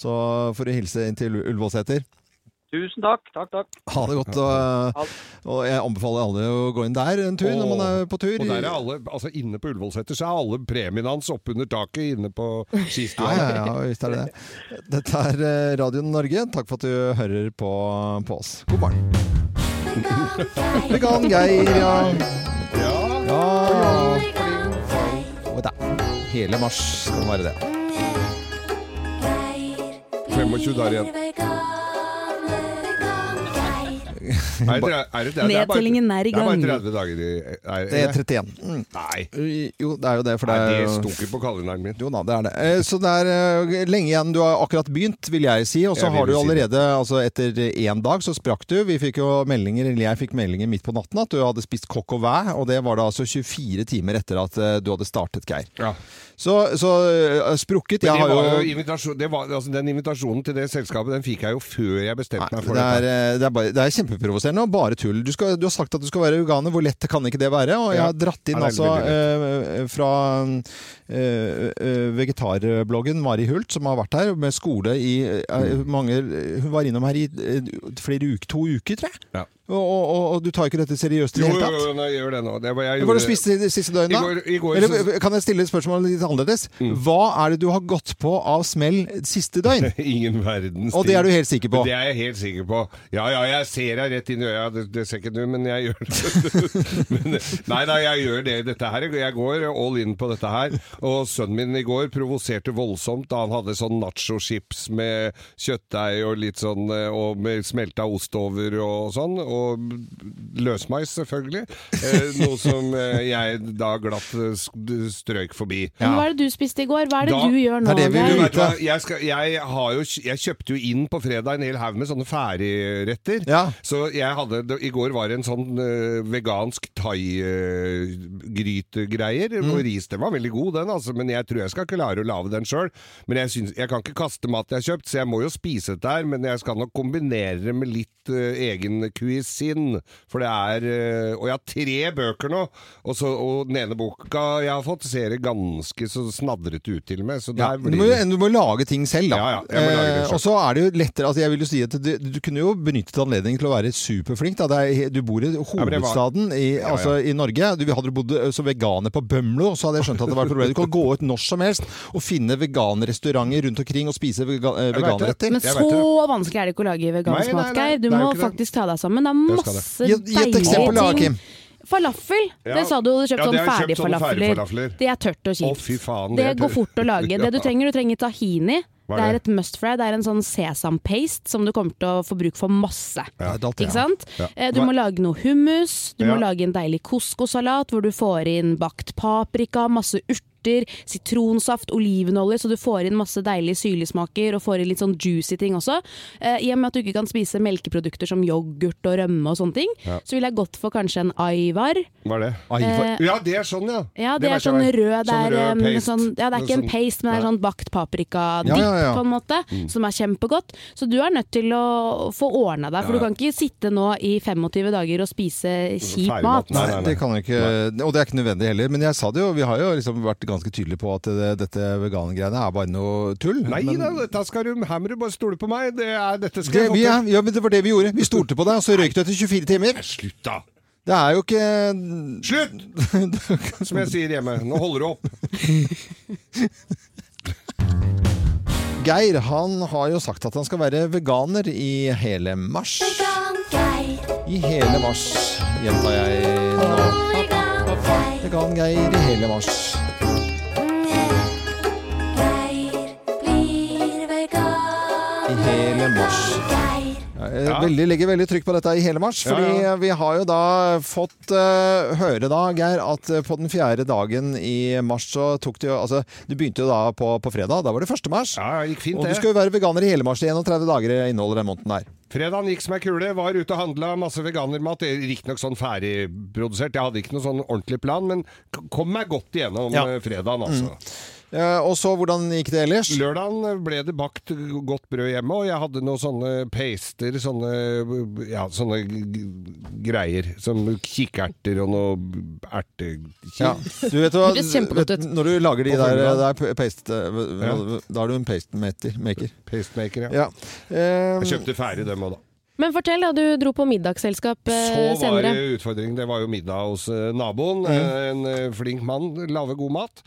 S3: så får du hilse inn til Ullevålsæter.
S10: Tusen takk. Takk, takk.
S3: Ha det godt. Og, og jeg anbefaler alle å gå inn der en tur når man er på tur.
S5: Og der er alle, altså Inne på Ullevålseter så er alle premiene hans oppunder taket inne på skistua.
S3: Ja, ja, ja, visst er det det. Dette er eh, Radio Norge. Takk for at du hører på, på oss. God morgen. Vegan Geir, ja. Ja. Og da. Hele mars skal det være det.
S5: 25 dager igjen. Er det, er det, det, er bare-
S4: Nedtellingen er i gang.
S5: Det er bare 30 dager i
S3: Det er 31. Nei. Jo, det er jo det. For det,
S5: Nei,
S3: er
S5: det
S3: jo-
S5: sto ikke på kalenderen min.
S3: Jo da, det er det. Eh, Så det er eh, lenge igjen. Du har akkurat begynt, vil jeg si. Og så
S5: Jeg vil
S3: har du
S5: jo si det.
S3: allerede, altså etter én dag, så sprakk du. Vi fikk jo meldinger, eller jeg fikk meldinger midt på natten at du hadde spist kokk og væ. Og det var da altså 24 timer etter at eh, du hadde startet, Geir. Så, så eh, sprukket
S5: Men
S3: Jeg
S5: det
S3: har
S5: var jo
S3: jo
S5: invitasjon, det var, altså, den invitasjonen til det selskapet den fikk jeg jo før jeg bestemte meg for
S3: det er,
S5: dette.
S3: eh, det, er bare, det er kjempeprovoserende og bare tull. Du, skal, du har sagt at du skal være veganer. Hvor lett kan ikke det være? Og jeg
S5: Ja.
S3: har dratt inn
S5: Ja, det
S3: altså,
S5: er
S3: eh, fra eh, eh, vegetarbloggen Mari Hult, som har vært her med skole i eh,
S5: Mm.
S3: mange Hun var innom her i eh, flere uker, to uker, tror jeg. Og, og, og du tar ikke dette seriøst i det
S5: Jo,
S3: hele
S5: jo,
S3: tatt?
S5: jo, nei, jeg gjør det nå. Det var, jeg
S3: Hva har du
S5: gjorde-
S3: spist det siste døgnet, da?
S5: I går- i går
S3: Eller,
S5: så- Mm.
S3: kan jeg stille et spørsmål litt annerledes? Hva er det du har gått på av smell siste døgn?
S5: Ingen verdens
S3: Og det er du helt sikker på?
S5: Det er jeg helt sikker på. Ja, ja, jeg ser deg rett inn i øya, det, det ser ikke du, men jeg gjør det. men, nei da, jeg gjør det. Dette her, jeg går all in på dette her. Og sønnen min i går provoserte voldsomt da han hadde sånn nacho-chips med kjøttdeig og litt sånn, eh, og med smelta ost over og sånn. Og løsmeis, selvfølgelig. Eh, noe som eh, jeg da glatt eh, sk- strøk forbi.
S6: Men hva er det du spiste i går? Hva er det
S5: Da-
S6: du gjør nå?
S5: Du
S6: Geir?
S5: vet hva, Jeg, skal, jeg, har jo, jeg kjøpte jo inn på fredag en hel haug med sånne ferdigretter. Så jeg hadde, det- I går var det en sånn eh, vegansk thaigrytegreier. Uh, Og ris, den var veldig god, den, altså, men jeg tror jeg skal klare å lage den sjøl. Men jeg, syns- jeg kan ikke kaste mat jeg har kjøpt, så jeg må jo spise dette her. Men jeg skal nok kombinere det med litt eh, egen cuisine. For det er eh, Og jeg har tre bøker nå, og, så, og den ene boka jeg har fått, ser det ganske så snadret ut til og med. Så der
S3: Du må,
S5: blir det
S3: jo- du må lage ting selv, da. Eh,
S5: jeg må lage det selv.
S3: og så er det jo lettere altså Jeg vil jo si at du, du kunne jo benyttet anledningen til å være superflink. Da. Det er, du bor i
S5: men det var-
S3: hovedstaden i,
S5: Ja, ja.
S3: altså, i Norge. Du, hadde du bodd ø, som veganer på Bømlo, så hadde jeg skjønt at det var et problem. Du kan gå ut når som helst og finne veganrestauranter rundt omkring og spise vega, eh, ø,
S5: vet
S3: veganretter.
S4: Men så vanskelig er det ikke å lage
S3: Nei,
S4: vegansk
S3: nei,
S4: mat,
S3: nei,
S4: Geir. Du
S3: det er jo
S4: må
S3: ikke det.
S4: faktisk ta deg sammen. Det er
S3: Jeg skal det.
S4: masse
S3: Gi et- gi et
S4: deilige
S3: eksempel, da,
S4: ting.
S3: Kim.
S4: Falafel.
S5: Ja.
S4: Det sa du, du har kjøpt
S5: Ja, det
S4: sånn
S5: har jeg kjøpt sånne
S4: ferdigfalafler.
S5: ferdigfalafler.
S4: Det er tørt og
S5: Å,
S4: kjipt.
S5: fy faen.
S4: det
S5: er
S4: går
S5: tørt.
S4: fort å lage. Det du
S5: Ja.
S4: trenger, du trenger tahini.
S5: Hva
S4: Det
S5: er
S4: er
S5: det?
S4: et must fry. Det er en sånn sesampaste som du kommer til å få bruk for masse.
S5: Ja, det er alt, ja.
S4: Ikke sant?
S5: Ja.
S4: Eh, Du
S5: Hva-
S4: må lage noe hummus, du må
S5: Ja.
S4: lage en deilig couscous-salat hvor du får inn bakt paprika, masse urter, sitronsaft, olivenolje, så du får inn masse deilige syrligsmaker og får inn litt sånn juicy ting også. Eh, I og med at du ikke kan spise melkeprodukter som yoghurt og rømme og sånne ting,
S5: Ja.
S4: så ville jeg gått for kanskje en Aivar.
S5: Hva er det?
S4: Aivar. Eh,
S5: ja, det er sånn, ja.
S4: Ja, det, er
S5: vet jeg
S4: sånn
S5: hva
S4: rød, det
S5: Sånn
S4: er,
S5: rød
S4: um,
S5: paste.
S4: sånn, ja, det er ikke en paste, men det er sånn bakt paprika-dipp,
S5: Ja, ja, ja.
S4: på en måte,
S5: Mm.
S4: som er kjempegodt. Så du er nødt til å få ordna deg, for
S3: Ja, ja.
S4: du kan ikke sitte nå i 25 dager og spise kjip mat.
S3: Nei, det kan jeg ikke, og det er ikke nødvendig heller. Men jeg sa det jo, vi har jo liksom vært ganske tydelige på at det, dette veganergreiene er bare noe tull.
S5: Nei
S3: men,
S5: da, dette skal du, her må du bare stole på meg. Det er, dette skal
S3: det,
S5: jeg
S3: vi,
S5: få
S3: ja,
S5: til.
S3: ja, men det var det vi gjorde. Vi stolte på deg, og så røyk du etter 24 timer.
S5: Slutt, da!
S3: Det er jo ikke
S5: Slutt! Som jeg sier hjemme. Nå holder du opp.
S3: Geir han har jo sagt at han skal være veganer i hele mars. I hele mars, gjentar jeg nå. Vegan-Geir i hele mars. I hele mars. Jeg Veldig, legger veldig trykk på dette i hele mars,
S5: Ja,
S3: fordi
S5: ja.
S3: vi har jo da fått eh, høre da, Geir, at eh, på den fjerde dagen i mars så tok det jo Altså, du begynte jo da på, på fredag, da var det 1. mars.
S5: Ja, det gikk fint,
S3: og
S5: det.
S3: du skal jo være veganer i hele mars. Det er 31 dager inneholder den måneden her.
S5: Fredagen gikk som ei kule. Var ute og handla masse veganermat. Riktignok sånn ferdigprodusert. Jeg hadde ikke noen sånn ordentlig plan, men k- kom meg godt igjennom
S3: Ja.
S5: eh, fredagen, altså.
S3: Eh, og så, hvordan gikk det ellers?
S5: Lørdagen ble det bakt godt brød hjemme, og jeg hadde noen sånne paster, sånne, ja, sånne g- g- greier. Som kikkerter og noe ertekjeks.
S3: Ja. Du vet hva, vet, når du lager de
S5: På
S3: der,
S5: formiddagen.
S3: der p- paste, eh, Da er du en pastemaker. maker.
S5: Pastemaker,
S3: ja.
S5: Jeg kjøpte ferdig dem òg, da.
S6: Men fortell, da. Du dro på middagsselskap eh,
S5: Så var
S6: senere.
S5: det utfordringen. Det var jo middag hos eh,
S3: Mm.
S5: naboen. eh, En eh, flink mann. Lave god mat.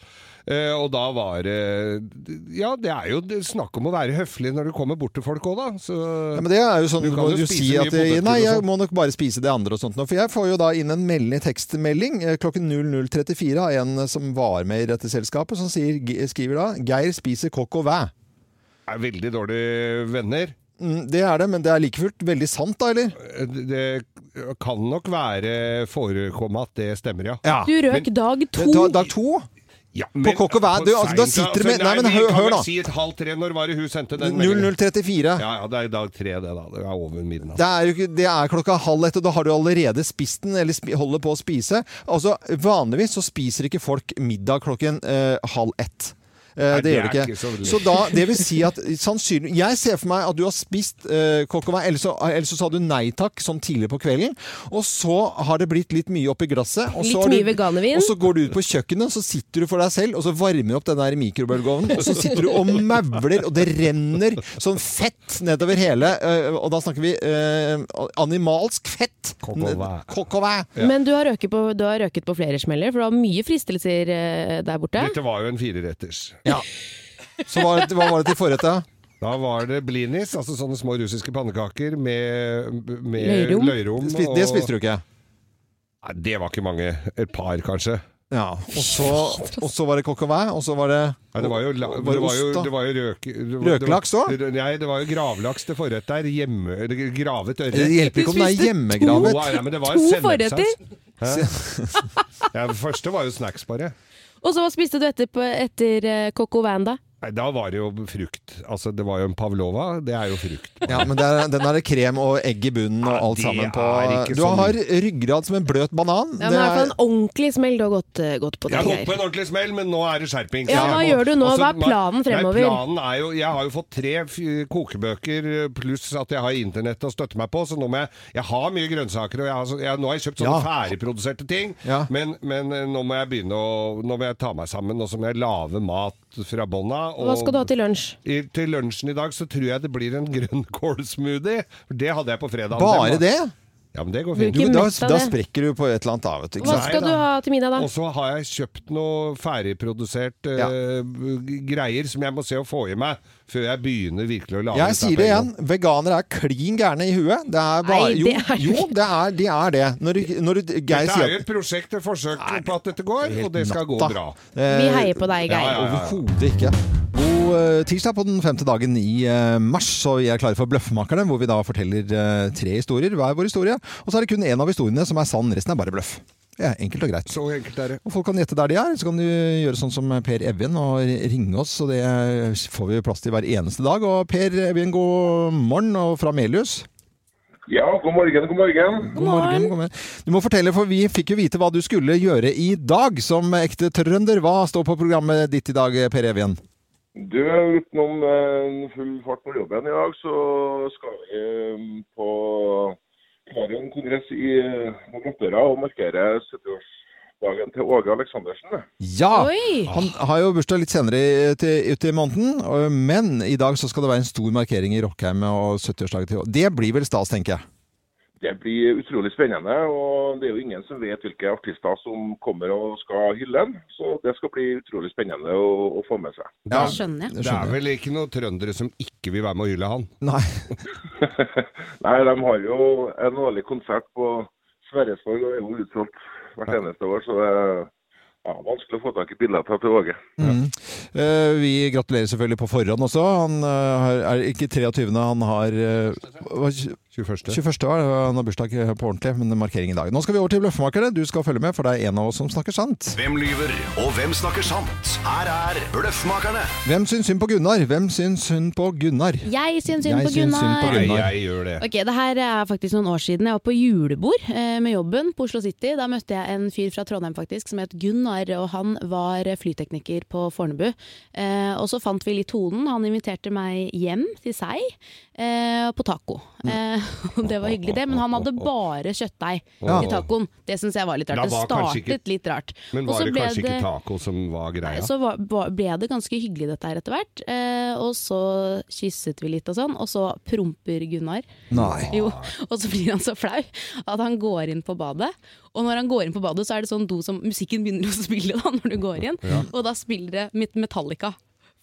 S5: Eh, og da var det Ja, det er jo det- snakk om å være høflig når du kommer bort til folk òg, da. Så,
S3: Ja, men det er jo sånn, du
S5: kan
S3: må
S5: jo
S3: jo
S5: spise
S3: si
S5: mye
S3: at jeg,
S5: potetgull
S3: Nei,
S5: og sånn.
S3: jeg
S5: sånt.
S3: må nok bare spise det andre og sånt nå. For jeg får jo da inn en melding, tekstmelding eh, klokken 00.34 av en eh, som var med i dette selskapet, som sier, G- skriver da 'Geir spiser kokk og væ'.
S5: er veldig dårlige venner.
S3: Mm, Det er det, men det er like fullt veldig sant, da, eller?
S5: Eh, Det kan nok være forekomme at det stemmer, ja.
S4: Du røk dag to.
S3: Da, dag to?
S5: Ja,
S3: på kokk og væ? Du, altså, da sitter du med Nei, men hør, hør da.
S5: Si et halvt tre. Når var det hun sendte den meldingen?
S3: 0034.
S5: Ja, ja, det er dag tre, det, da. Det er over midnatt.
S3: Det er, jo ikke, det er klokka halv ett, og da har du allerede spist den, eller spi, holder på å spise. Altså, Vanligvis så spiser ikke folk middag klokken eh, halv ett. Eh,
S5: Nei,
S3: det
S5: det
S3: gjør
S5: er
S3: de
S5: ikke
S3: ikke.
S5: så lurt.
S3: Så da, det vil si at sannsynlig Jeg ser for meg at du har spist eh, kokk og vei, eller så, eller så sa du nei takk sånn tidlig på kvelden. Og så har det blitt litt mye oppi glasset. Og
S4: Litt
S3: så har du-
S4: mye veganervin.
S3: Og så går du ut på kjøkkenet, så sitter du for deg selv, og så varmer du opp den der mikrobølgeovnen. Og så sitter du og mauler, og det renner sånn fett nedover hele. eh, Og da snakker vi eh, animalsk fett.
S5: og væ.
S3: Kokk og væ.
S4: Men du har, røket på, du har røket på flere smeller, for det var mye fristelser eh, der borte.
S5: Dette var jo en fireretters.
S3: Ja. Så hva, hva var det til forrett, da?
S5: Da var det blinis, altså sånne små russiske pannekaker med, med
S3: Løyrom.
S5: løyrom.
S3: Spi- det spiste du ikke?
S5: Nei, det var ikke mange. Et par, kanskje.
S3: Ja, og så, og så var det kokk og væ, og så var det
S5: Nei, det var jo, la-
S3: var
S5: det var jo,
S3: ost, da?
S5: det var jo røk, det var,
S3: Røkelaks også?
S5: det var- Nei, det var jo gravlaks til forrett der. Hjemme, eller gravet ørret.
S3: Det hjelper ikke om det er Du spiste hjemmegravet. to-
S5: Nei, nei, men det var
S4: to
S5: jo sennepssaus.
S4: forretter?
S5: Hæ? Ja, det første var jo snacks, bare.
S4: Og så hva spiste du etter, på- etter eh, Coco Vanda?
S5: Nei, da var det jo frukt. Altså, det var jo en pavlova. Det er jo frukt.
S3: Ja, men det er, den er det krem og egg i bunnen og alt
S5: det
S3: sammen på.
S5: er ikke
S3: Du
S5: sånn.
S3: har ryggrad som en bløt banan.
S4: Ja, men i hvert fall en ordentlig smell du har gått, eh, gått på.
S5: Jeg
S4: der,
S5: tok
S4: Geir.
S5: på en ordentlig smell, men nå er det skjerping.
S4: Ja,
S5: Så
S4: hva
S5: jeg må-
S4: gjør du nå?
S5: Også-
S4: Hva er planen
S5: Nei,
S4: fremover?
S5: planen er jo, jeg har jo fått tre f- kokebøker eh, pluss at jeg har internett å støtte meg på, så nå må jeg Jeg har mye grønnsaker, og jeg har, så- jeg, nå har jeg kjøpt sånne ferdigproduserte ting, men, men eh, nå må jeg begynne å Nå må jeg ta meg sammen, og så må jeg lage mat fra bånna.
S4: Hva skal du ha til lunsj?
S5: I, til lunsjen i dag så tror jeg det blir en grønnkålsmoothie. for Det hadde jeg på fredag.
S3: Bare
S5: var-
S3: det?
S5: Ja, men det går
S4: Blir
S5: fint.
S4: ikke
S3: Da,
S4: mett av
S3: da
S4: det.
S3: sprekker du på et eller annet da, vet du.
S4: Hva skal du ha til middag da?
S5: Og så har jeg kjøpt noe ferdigprodusert eh, g- greier som jeg må se å få i meg før jeg begynner virkelig å lage
S3: Jeg sier det igjen, veganere er klin gærne i huet. Det er bare,
S5: Nei, det er-
S3: jo, jo, det er, de er det. Når, du- når du, Geir
S5: Dette er
S3: sier
S5: jo
S3: at
S5: et prosjekt, et forsøk på at dette går, og det skal gå
S3: natta.
S5: bra.
S4: Vi heier på deg, Geir.
S5: Ja, ja, ja, ja.
S3: Overhodet ikke. God eh, tirsdag på den femte dagen i eh, mars, så vi er klare for Bløffmakerne, hvor vi da forteller eh, tre historier, hver vår historie. Og så er det kun én av historiene som er sann, resten er bare bløff. Det er enkelt og greit.
S5: Så enkelt er det.
S3: Og folk kan gjette der de er, så kan du gjøre sånn som Per Evjen og ringe oss, og det får vi plass til hver eneste dag. Og Per Evjen, god morgen, og fra Melius.
S15: Ja, god morgen, god morgen.
S3: God morgen. god morgen. Du må fortelle, for vi fikk jo vite hva du skulle gjøre i dag som ekte trønder. Hva står på programmet ditt i dag, Per Evjen?
S15: Du, utenom eh, full fart på jobben i dag, så skal vi eh, på Marion kongress i eh, Mo i Rana og markere 70-årsdagen til Åge Aleksandersen.
S3: Ja! Han har jo bursdag litt senere i- til- ut i måneden, og- men i dag så skal det være en stor markering i Rockheim og 70-årsdagen til Det blir vel stas, tenker jeg.
S15: Det blir utrolig spennende, og det er jo ingen som vet hvilke artister som kommer og skal hylle den. Så det skal bli utrolig spennende å, å få med seg.
S5: Ja,
S4: skjønner
S5: Det er vel ikke noen trøndere som ikke vil være med å hylle han.
S3: Nei.
S15: Nei, de har jo en årlig konsert på Sverresborg, og er jo utsolgt hvert eneste år. Så det er ja, vanskelig å få tak i billetter til Åge.
S4: Mm.
S3: Mhm. Eh, vi gratulerer selvfølgelig på forhånd også. Han eh, har- er ikke 23., han har eh, hva-
S5: 21.
S3: 21. var det, han har bursdag eh, på ordentlig, men det er markering i dag. Nå skal vi over til Bløffmakerne. Du skal følge med, for det er en av oss som snakker sant.
S9: Hvem lyver, og hvem snakker sant? Her er Bløffmakerne.
S3: Hvem syns synd på Gunnar? Hvem syns synd på Gunnar?
S4: Jeg syns synd
S3: Jeg
S4: på
S3: syns synd på
S4: Gunnar.
S3: Gunnar.
S5: Nei, jeg gjør det.
S4: Ok, Det her er faktisk noen år siden. Jeg var på julebord eh, med jobben på Oslo City. Da møtte jeg en fyr fra Trondheim faktisk som het Gunnar, og han var eh, flytekniker på Fornebu. Eh, og så fant vi litt tonen. Han inviterte meg hjem til seg eh, på taco. Eh, og det var hyggelig, det. Men han hadde bare kjøttdeig
S5: Ja.
S4: til tacoen. Det syns jeg var litt
S5: Da
S4: rart. Det
S5: var kanskje ikke-
S4: startet litt rart.
S5: Men
S4: Og så
S5: var det
S4: ble
S5: kanskje ikke
S4: det-
S5: taco som var greia?
S4: så var, var, ble det ganske hyggelig dette her etter hvert. Eh, og så kysset vi litt og sånn, og så promper Gunnar.
S3: Nei.
S4: Jo, og så blir han så flau at han går inn på badet. Og når han går inn på badet, så er det sånn do som musikken begynner å spille da, når du går inn.
S16: Ja.
S4: Og da spiller det mitt Metallica.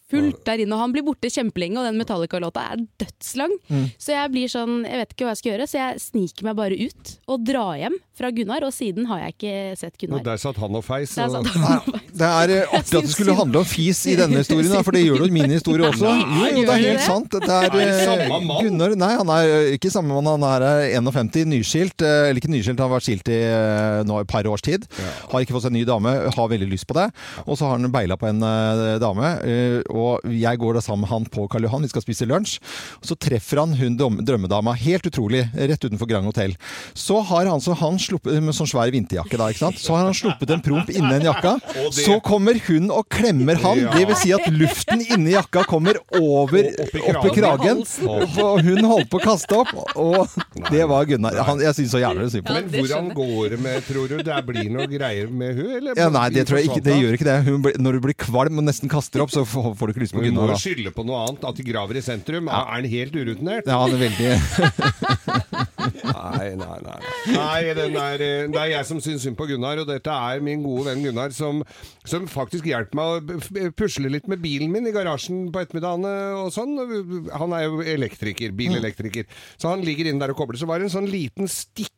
S4: Fullt der inne, og han blir borte kjempelenge, og den Metallica-låta er dødslang.
S16: Mm.
S4: Så jeg blir sånn, jeg vet ikke hva jeg skal gjøre, så jeg sniker meg bare ut og drar hjem fra Gunnar, og siden har jeg ikke sett
S5: Og
S4: Gunnar.
S5: der satt han og feis.
S4: Der satt
S5: og-
S4: han og
S3: Det er eh, artig at det skulle handle om fis i denne historien, da, for det gjør det jo i min historie også. Jo,
S5: Nei,
S3: jo, det er
S5: gjør det?
S3: helt sant. Det er,
S5: Er det
S3: eh,
S5: samme mann?
S3: Gunnar Nei, han er eh, ikke samme mann. Han er eh, 51, nyskilt. eh, Eller ikke nyskilt, han har vært skilt i eh, nå et par års tid. Har ikke fått seg ny dame, har veldig lyst på det. Og så har han beila på en eh, dame, eh, og jeg går da sammen med han på Karl Johan, vi skal spise lunsj. Og så treffer han hun dom- drømmedama, helt utrolig, rett utenfor Grand Hotel. Så har han, så han sluppet, med sånn svær vinterjakke da, ikke sant? Så har han sluppet en promp innen jakka.
S5: Og det-
S3: Så kommer hun og klemmer han.
S5: Ja.
S3: Det vil si at luften inni jakka kommer over
S5: opp i
S3: opp i kragen.
S5: kragen.
S3: Og hun holdt på å kaste opp, og det var Gunnar. Han, jeg syns så jævlig synd på
S5: Men hvordan går det med, tror du? Det blir noe greier med hun, eller?
S3: ja, Nei, det tror jeg ikke. Det
S5: Forsvant
S3: gjør ikke det. Hun blir- når du blir kvalm og nesten kaster opp, så får får du ikke lyst
S5: hun?
S3: på
S5: Vi må
S3: Gunnar.
S5: jo
S3: Da.
S5: skylde på noe annet, at de graver i sentrum. Er han helt urutinert?
S3: Ja, han er veldig
S5: Nei, nei, nei. Nei, den er, eh, det er jeg som syns synd på Gunnar, og dette er min gode venn Gunnar som, som faktisk hjelper meg å b- f- pusle litt med bilen min i garasjen på ettermiddagene og sånn. Han er jo elektriker, bilelektriker, så han ligger inne der og kobler. Så var det en sånn liten stikker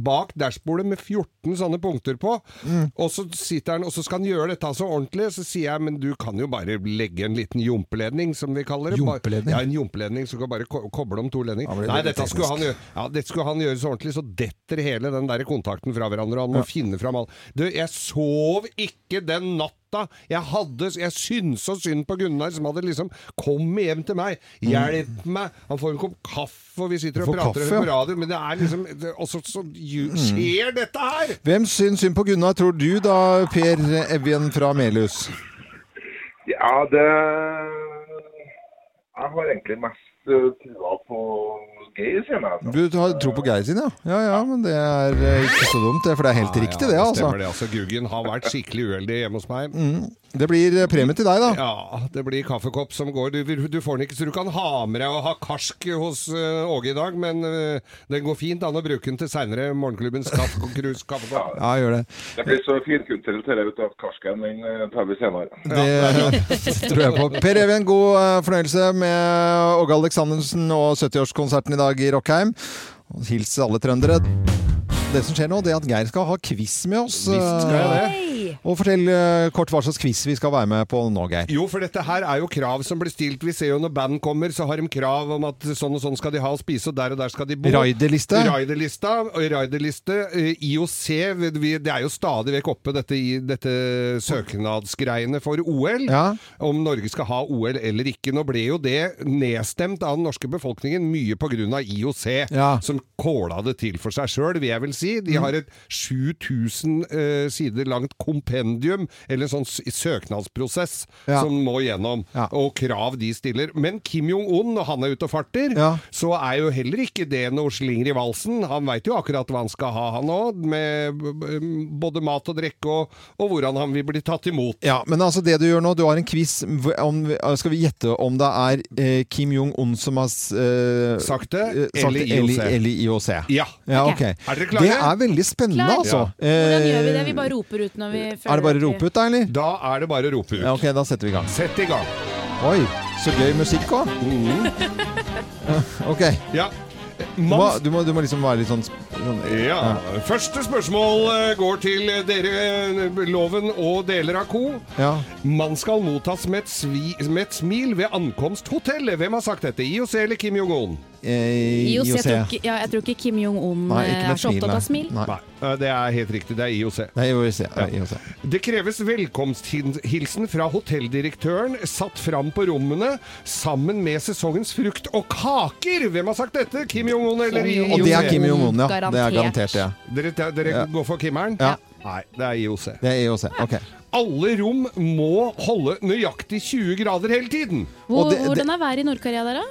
S5: bak dashbordet med 14 sånne punkter på, og så sitter han, og så skal han gjøre dette så ordentlig, så sier jeg, men du kan jo bare legge en liten jumpeledning, som vi kaller det. Bare-
S3: Jumpeledning?
S5: Ja, en jumpeledning, så du kan bare ko koble om to ledninger.
S3: blir
S5: Nei,
S3: veldig
S5: dette skulle
S3: teknisk.
S5: han gjøre. Ja, det skulle han gjøre så ordentlig, så detter hele den der kontakten fra hverandre. og Han må finne fram alt. Du, jeg sov ikke den natta! Jeg hadde, jeg syntes så synd på Gunnar, som hadde liksom Kom hjem til meg! Hjelp meg! Han får en kopp kaffe, og vi sitter
S3: Han
S5: og
S3: får
S5: prater
S3: kaffe, ja.
S5: på radio, men det er liksom det- Og så, så ju- skjer dette her!
S3: Hvem syns synd på Gunnar, tror du da, Per Evjen fra Melhus?
S15: Ja, det Jeg har egentlig mest eh, trua på Geir, sier jeg. altså.
S3: Du har tro på Geir sin, ja? Ja ja, men det er eh, ikke så dumt, det. For det er helt
S5: Ja,
S3: riktig,
S5: ja,
S3: det, altså.
S5: Stemmer det, altså. Guggen har vært skikkelig uheldig hjemme hos meg.
S3: Mm. Det blir eh, premie til deg, da.
S5: Ja, det blir kaffekopp som går. Du, du får den ikke, så du kan ha med deg og ha karsk hos eh, Åge i dag, men eh, den går fint an å bruke den til seinere morgenklubbens kaffekrus kaffekopp.
S3: Ja, gjør det.
S15: Det blir så finkulturelt dette vet du, at karsken den eh, tar vi senere.
S3: Det tror jeg på. Per Even, god eh, fornøyelse med Åge Aleksandersen og 70-årskonserten i dag i Rockheim. Og Hils alle trøndere. Det som skjer nå, det er at Geir skal ha quiz med oss.
S5: Visst skal jeg det.
S3: Eh, Og fortell eh, kort hva slags quiz vi skal være med på nå, Geir.
S5: Jo, for dette her er jo krav som blir stilt. Vi ser jo når band kommer, så har de krav om at sånn og sånn skal de ha å spise, og der og der skal de bo.
S3: Raiderliste.
S5: Raiderlista. og Raiderliste. eh, IOC. vi- vi- Det er jo stadig vekk oppe, dette, i- dette søknadsgreiene for OL. Om Norge skal ha OL eller ikke. Nå ble jo det nedstemt av den norske befolkningen mye pga. IOC, som kåla det til for seg sjøl, vil jeg vel si. De har et 7000 eh, sider langt kompendium, eller en sånn s- søknadsprosess,
S3: Ja.
S5: som må gjennom, og krav de stiller. Men Kim Jong-un, når han er ute og farter, så er jo heller ikke det noe slinger i valsen. Han veit jo akkurat hva han skal ha, han òg, med mm, både mat og drikke og, og hvordan han vil bli tatt imot.
S3: Ja, men altså det du gjør nå, du har en quiz. hvor- Om, eh, skal vi gjette om det er eh, Kim Jong-un som har eh,
S5: Sagt det,
S3: eh, sagt
S5: eller
S3: det,
S5: IOC.
S3: Eller, eller IOC.
S5: Ja.
S3: ok.
S5: Ok. Er dere klare?
S3: Det er veldig spennende,
S5: Klar.
S3: altså.
S4: Hvordan gjør vi det?
S3: Eh,
S4: Vi bare roper ut når vi føler
S3: Er det bare å
S4: at vi-
S3: rope ut, da, eller?
S5: Da er det bare å rope ut.
S3: Ja, ok, da setter vi i gang.
S5: Sett i gang.
S3: Oi, så gøy musikk òg. Ok.
S5: Ja.
S3: Du må, du, må, du må liksom være litt sånn, sånn
S5: Ja. Første spørsmål eh, går til dere, eh, Loven og deler av co.
S3: Ja.
S5: Man skal mottas med et, svi, med et smil ved ankomst hotellet. Hvem har sagt dette? IOC eller Kim Jong-un?
S3: Eh,
S4: IOC, jeg tror, ikke, ja, jeg tror ikke Kim Jong-un
S5: Nei, ikke
S4: eh,
S5: med
S4: er så
S5: smil,
S4: opptatt
S5: nei.
S4: av smil.
S5: Nei, eh, det er helt riktig. Det er IOC.
S3: Det er IOC. Ja. IOC.
S5: Det kreves velkomsthilsen fra hotelldirektøren satt fram på rommene sammen med sesongens frukt og kaker. Hvem har sagt dette? Kim Jong-un eller IOC?
S3: Og det er Kim Jong-un, ja. Det er garantert, ja.
S5: Dere, dere
S3: Ja.
S5: går for Kimmeren?
S3: Ja.
S5: Nei, det er IOC.
S3: Det er IOC. Ok.
S5: Alle rom må holde nøyaktig 20 grader hele tiden.
S4: Hvor, hvordan er været i Nord-Korea der, da?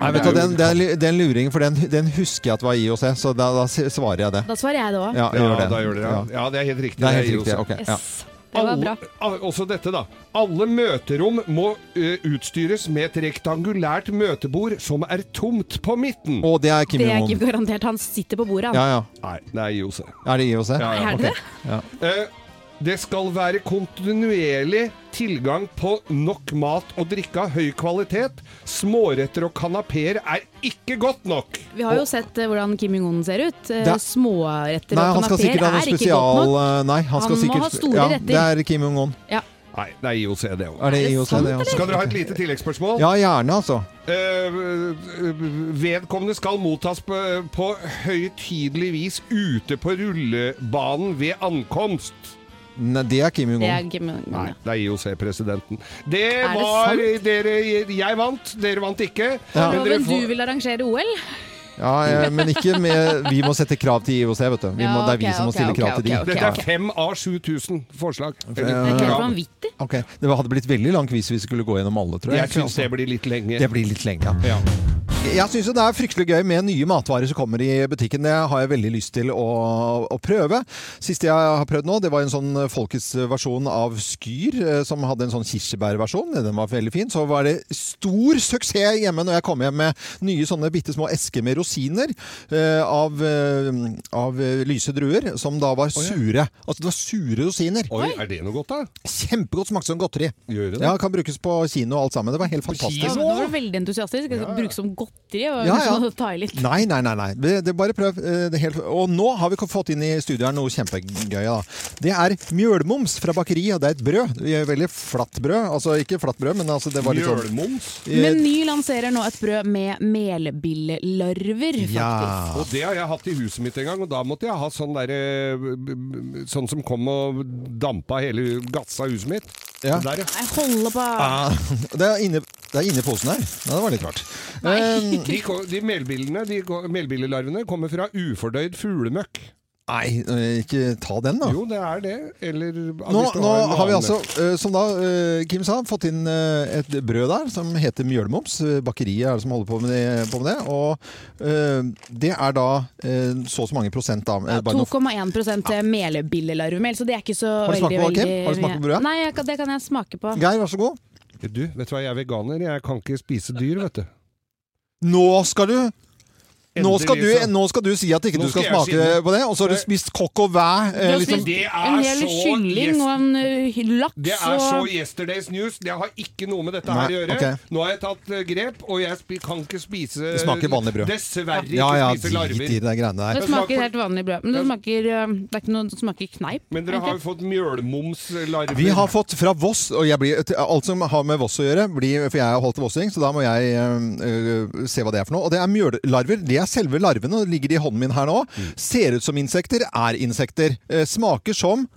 S3: Nei, vet du, hva, den, den, den luringen, for den, den husker jeg at var IOC, så da, da svarer jeg det.
S4: Da svarer jeg det òg.
S3: Ja, jeg gjør det.
S5: da gjør det, ja. ja, det er helt riktig.
S3: Det er helt riktig,
S5: IOC.
S3: ok. Ja.
S4: Yes. Det var bra.
S5: Alle, også dette, da. Alle møterom må ø, utstyres med et rektangulært møtebord som er tomt på midten.
S3: Og det er Kim
S4: Det er
S3: Jong-un.
S4: ikke garantert. Han sitter på bordet, han.
S3: Ja, ja.
S5: Nei, det er IOC.
S3: Er det IOC?
S5: Ja, ja.
S4: Er det det?
S3: Ja.
S5: Eh, Det skal være kontinuerlig tilgang på nok mat og drikke av høy kvalitet. Småretter og kanapeer er ikke godt nok.
S4: Vi har jo sett eh, hvordan Kim Jong-un ser ut. Eh,
S3: Det er-
S4: Småretter
S3: Nei,
S4: og
S3: han skal
S4: kanapeer
S3: sikkert ha noe
S4: er ikke godt
S3: spesial
S4: nok.
S3: eh, Nei, han skal
S4: Han må
S3: sikkert
S4: ha store
S3: ja,
S4: retter.
S3: Det er Kim Jong-un.
S4: Ja.
S5: Nei, det er IOC, det òg.
S3: Er det IOC, det også?
S5: Skal dere ha et lite tilleggsspørsmål?
S3: Ja, gjerne, altså.
S5: Eh, vedkommende skal mottas på, på høytidelig vis ute på rullebanen ved ankomst.
S3: Nei, det er Kim
S4: Det
S3: Jong-un.
S4: er Kim Jong-un.
S5: Nei,
S4: ja.
S5: det er IOC-presidenten. Det
S4: det
S5: var
S4: sant?
S5: dere Jeg vant, dere vant ikke.
S3: Ja.
S5: Men dere
S4: Loven, du
S5: får
S4: vil arrangere OL?
S3: Ja, ja, men ikke med Vi må sette krav til IOC, vet du. Vi må,
S4: Ja,
S3: det er vi
S4: ok,
S3: som må
S4: ok,
S3: stille
S4: ok,
S3: krav til de. Eh,
S4: ok, ok.
S5: Dette er fem av 7000 forslag.
S4: Det er helt
S5: Ja.
S4: vanvittig.
S3: Ok, Det hadde blitt veldig lang quiz hvis vi skulle gå gjennom alle, tror jeg.
S5: Jeg syns det blir litt lenge.
S3: Det blir litt lenge.
S5: Ja.
S3: Jeg syns jo det er fryktelig gøy med nye matvarer som kommer i butikken. Det har jeg veldig lyst til å, å prøve. Siste jeg har prøvd nå, det var en sånn folkets versjon av Skyr, eh, som hadde en sånn kirsebærversjon. Den var veldig fin. Så var det stor suksess hjemme når jeg kom hjem med nye sånne bitte små esker med rosiner eh, av, eh, av eh, lyse druer, som da var sure. Altså det var sure rosiner.
S5: Oi, er det noe godt, da?
S3: Kjempegodt smakte som godteri.
S5: Gjør det det?
S3: Ja, kan brukes på kino og alt sammen. Det var helt fantastisk.
S4: Ja, men nå var du veldig entusiastisk. Jeg skal bruke som godteri. Og
S3: Ja, ja.
S4: liksom Ta i litt.
S3: Nei, nei, nei. nei. Det, det bare prøv. eh, Det er helt, og nå har vi ko- fått inn i studio her noe kjempegøy. Da. Det er mjølmoms fra bakeriet, og det er et brød. Det er Veldig flatt brød. Altså ikke flatt brød, men altså, det var litt sånn
S5: Mjølmoms.
S3: eh,
S4: Meny lanserer nå et brød med melbillelarver, faktisk.
S3: Ja.
S5: Og det har jeg hatt i huset mitt en gang, og da måtte jeg ha sånn derre b- b- Sånn som kom og dampa hele gassa i huset mitt.
S3: Ja.
S5: Det Der, ja.
S4: Jeg holder på
S3: Ah, Det er inne det er inne i posen her. Ja, det var litt rart. Eh,
S5: De, ko- de, melbillene- de ko- melbillelarvene kommer fra ufordøyd fuglemøkk.
S3: nei, eh, ikke ta den, da.
S5: Jo, det er det. Eller
S3: Nå, nå har vi altså, eh, som da eh, Kim sa, fått inn eh, et brød der som heter mjølmoms. Eh, Bakeriet er det som holder på med det. På med det. Og eh, det er da eh, så og så mange prosent, da. eh, bare noen
S4: 2,1 ja. melebillelarvemel, så det er ikke så
S3: Har du smakt
S4: veldig,
S3: på det, Kim?
S4: veldig
S3: Har du smakt på
S4: mye.
S3: brødet?
S4: Nei, jeg, kan- det kan jeg smake på.
S3: Geir, vær så god.
S5: Du, vet du hva, jeg er veganer. Jeg kan ikke spise dyr, vet du.
S3: Nå skal du nå skal, du,
S5: Endelig så-
S3: nå skal du si at ikke
S5: Nå
S3: du skal
S5: skal jeg
S3: smake
S5: si-
S3: på det, og så har du spist kokk og væ.
S4: Du
S3: Eh,
S4: har
S3: liksom.
S4: spist
S5: Det er
S4: en hel
S5: så
S4: kylling
S5: gjest-
S4: og en ø, laks
S5: Det er så
S4: og
S5: yesterday's news. Det har ikke noe med dette
S3: Nei,
S5: her å gjøre.
S3: ok.
S5: Nå har jeg tatt eh, grep, og jeg spi- kan ikke spise
S3: Det smaker vanlig brød.
S5: Dessverre ikke
S3: Ja ja,
S5: spise
S3: drit i
S5: larver.
S3: de greiene der.
S4: Det smaker helt vanlig brød. Men det smaker, ø, det er ikke noe, det smaker kneip.
S5: Men dere har jo fått mjølmomslarver.
S3: Vi har fått fra Voss, og jeg blir, alt som har med Voss å gjøre, blir, for jeg har holdt til vossing, så da må jeg eh, eh, se hva det er for noe. Og det er mjøllarver. Det er selve larvene, og det ligger i hånden min her nå. Ser ut som insekter, er insekter. Eh, smaker som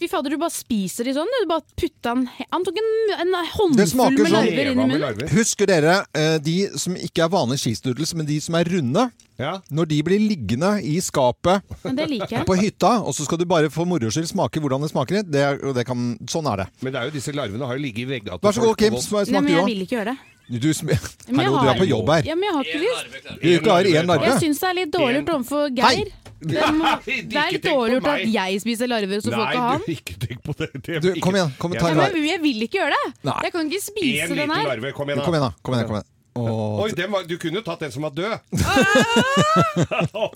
S4: Fy fader, du bare spiser de sånn. Du bare putter en Han tok en, en håndfull
S3: smaker
S4: med
S3: sånn.
S4: larver inn i munnen.
S5: larver.
S3: Husker dere eh, de som ikke er vanlige skisnudels, men de som er runde?
S5: Ja.
S3: Når de blir liggende i skapet
S4: Men det liker jeg.
S3: på hytta, og så skal du bare for moro skyld smake hvordan det smaker. Det, er- og det kan, sånn er det.
S5: Men det er jo disse larvene har jo ligget i veggene.
S3: Vær så god, Kim. sma-
S4: Nei,
S3: Smaker
S4: men jeg
S3: du òg?
S4: vil ikke gjøre det.
S3: Du, sm
S4: Men jeg
S3: Hallo, du er
S4: har-
S3: på jobb her.
S4: Ja, men jeg har ikke lyst.
S3: Du klarer én larve.
S4: Jeg syns det er litt dårlig gjort overfor
S3: Hei!
S4: Geir. Det, må,
S5: Nei, ikke
S4: det er litt
S5: tenk på
S4: dårlig gjort at
S5: meg.
S4: jeg spiser larver, så får
S5: Nei,
S4: ikke han.
S5: du, ikke tenk på det. det
S3: Du, kom igjen. Kom, ta
S4: Ja,
S3: en larve.
S4: men jeg vil ikke gjøre det!
S3: Nei.
S4: Jeg kan ikke spise
S5: En
S4: den
S5: liten
S4: her.
S5: larve. Kom igjen,
S3: Kom
S5: da.
S3: igjen, da. Kom igjen, kom igjen. Åh,
S5: Oi, den var, du kunne jo tatt den som var død.
S3: nå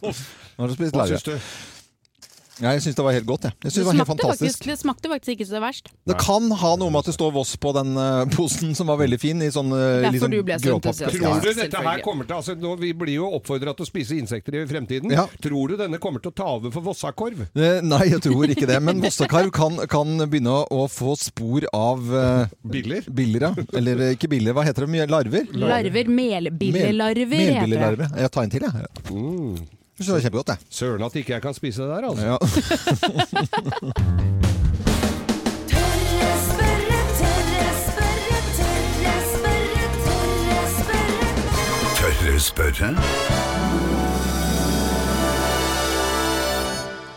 S3: har du spist
S5: Hva
S3: larve.
S5: syns du?
S3: Ja, jeg syns det var helt godt. Jeg. Jeg synes
S4: Det
S3: det var helt
S4: smakte,
S3: fantastisk.
S4: faktisk, det smakte faktisk ikke så verst.
S3: Det kan ha noe med at det står Voss på den eh, posen, som var veldig fin. I sånn, uh,
S4: Derfor du ble så entusiastisk.
S5: Tror du
S4: Ja,
S5: dette her
S4: selvfølgelig.
S5: kommer til altså, nå, Vi blir jo oppfordra til å spise insekter i fremtiden.
S3: Ja.
S5: Tror du denne kommer til å ta over for Vossakorv?
S3: Eh, Nei, jeg tror ikke det. Men Vossekarv kan, kan begynne å- å få spor av eh,
S5: Biller?
S3: biller. ja. Eller eh, ikke biller, hva heter det? Mye Larver?
S4: Larver.
S3: Mel-
S4: Melbillelarver heter det.
S3: Melbillelarver. Jeg tar en til, jeg. Mm. Det var kjempegodt, jeg.
S5: Søren at ikke jeg kan spise det der, altså.
S3: Ja.
S9: Tørre spørre?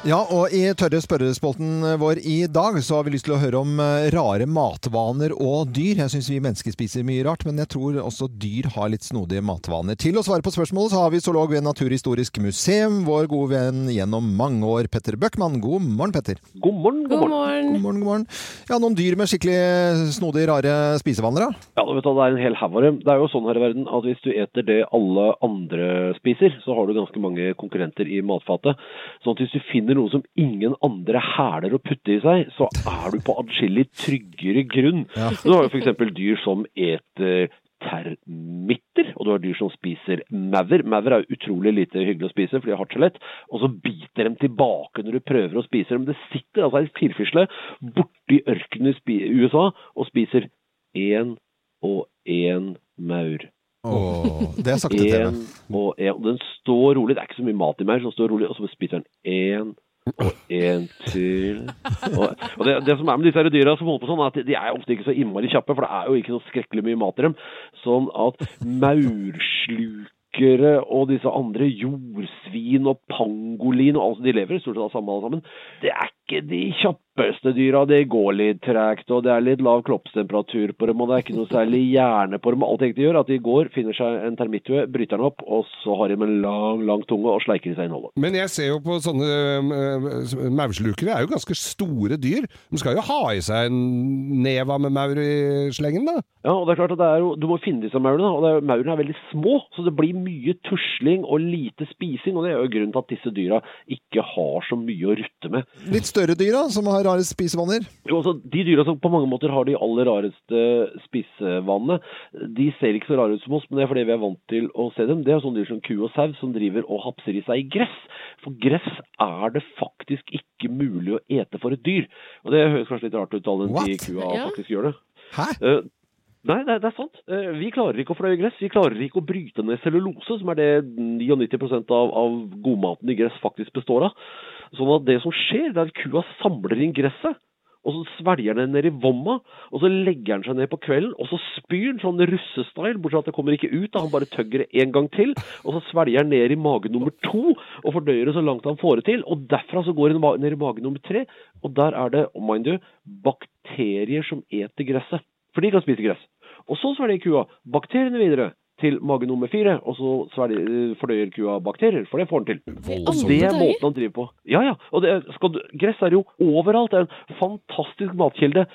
S3: Ja, og i tørre spørrespolten eh, vår i dag så har vi lyst til å høre om eh, rare matvaner og dyr. Jeg syns vi mennesker spiser mye rart, men jeg tror også dyr har litt snodige matvaner. Til å svare på spørsmålet så har vi zoolog ved Naturhistorisk museum, vår gode venn gjennom mange år, Petter Bøckmann. God morgen, Petter.
S10: God morgen.
S4: God morgen.
S3: God morgen, god morgen. Ja, noen dyr med skikkelig snodige, rare spisevaner, da?
S10: Ja, vet du, Det er en hel haug av dem. Det er jo sånn her i verden at hvis du eter det alle andre spiser, så har du ganske mange konkurrenter i matfatet. Sånn at hvis du finner noe som ingen andre hæler å putte i seg, så er du på adskillig tryggere grunn. Du har jo f.eks. dyr som eter termitter, og du har dyr som spiser maur. Maur er jo utrolig lite hyggelig å spise, for de har hardt skjelett. Og så biter de tilbake når du prøver å spise dem. Det sitter altså ei firfisle borti ørkenen i spi- USA og spiser én og én maur.
S3: Åh, det er sakte TV.
S10: En og en. Og Den står rolig, det er ikke så mye mat i maur, så den står rolig, og så spiser den én og én til. Og, og det, det som er med disse her dyra som holder på sånn, er at de er ofte ikke så innmari kjappe, for det er jo ikke så skrekkelig mye mat i dem. Sånn at maurslukere og disse andre, jordsvin og pangolin, og altså de lever stort sett av samme alle sammen, det er ikke de kjappeste dyra. Det går litt tregt, og det er litt lav kroppstemperatur på dem, og det er ikke noe særlig hjerne på dem. Alt de egentlig gjør, er at de går, finner seg en termittue, bryter den opp, og så har de en lang, lang tunge og sleiker i seg innholdet.
S5: Men jeg ser jo på sånne eh, maurslukere, er jo ganske store dyr. De skal jo ha i seg en neva med maur i slengen, da.
S10: Ja, og det er klart at det er jo, Du må finne disse maurene, og det er, maurene er veldig små, så det blir mye tusling og lite spising. og Det er jo grunnen til at disse dyra ikke har så mye å rutte med.
S3: Litt større dyr, da, som har rare spisevaner?
S10: Jo, altså, De dyra som på mange måter har de aller rareste spisevanene, de ser ikke så rare ut som oss, men det er fordi vi er vant til å se dem. Det er sånne dyr som ku og sau som driver og hapser i seg gress. For gress er det faktisk ikke mulig å ete for et dyr. Og det høres kanskje litt rart ut, all den tid kua
S17: Ja.
S10: faktisk gjør det. Eh, Nei, det er, det er sant. Eh, Vi klarer ikke å fløye gress. Vi klarer ikke å bryte ned cellulose, som er det 99 av, av godmaten i gress faktisk består av. Sånn at det som skjer, det er at kua samler inn gresset. Og så svelger den ned i vomma, og så legger den seg ned på kvelden, og så spyr den sånn russestyle, bortsett fra at det kommer ikke ut, da han bare tøgger det en gang til, og så svelger den ned i mage nummer to, og fordøyer det så langt han får det til, og derfra så går den ma- ned i mage nummer tre, og der er det, oh, mind you, bakterier som eter gresset, for de kan spise gress. Og så svelger kua bakteriene videre til mage nummer fire, og så svelger, fordøyer kua bakterier, for det får den til.
S17: Voldsomt.
S10: Og det er måten han driver på. Ja, ja. Og det, er- skal du, gress er jo overalt. Det er en fantastisk matkilde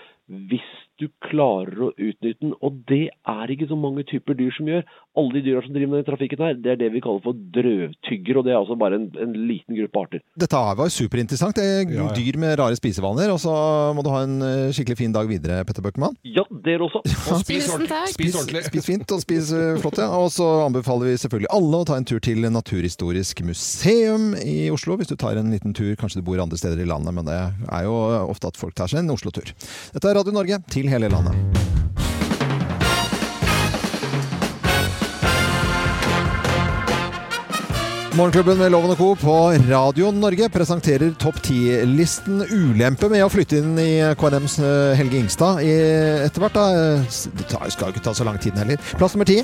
S10: hvis du klarer å utnytte den. Og det er ikke så mange typer dyr som gjør. Alle de dyra som driver med den trafikken her, det er det vi kaller for drøvtygger, og det er altså bare en, en liten gruppe arter.
S3: Dette her var superinteressant. Det er
S10: Ja, ja.
S3: Dyr med rare spisevaner. Og så må du ha en eh, skikkelig fin dag videre, Petter Bøckmann.
S10: Ja, dere også.
S3: Og
S5: spis Tusen ordentlig. takk. Spis ordentlig.
S3: Spis fint og spis eh, flott, ja. Og så anbefaler vi selvfølgelig alle å ta en tur til Naturhistorisk museum i Oslo. Hvis du tar en liten tur, kanskje du bor andre steder i landet, men det er jo ofte at folk tar seg en Oslo-tur. Dette er Radio Norge til hele landet. Morgenklubben med Loven og Co. på Radio Norge presenterer topp 10-listen ulempe med å flytte inn i KNMs eh, Helge Ingstad i, etter hvert. Da. S- Det tar- skal jo ikke ta så lang tid heller. Plass nummer ti.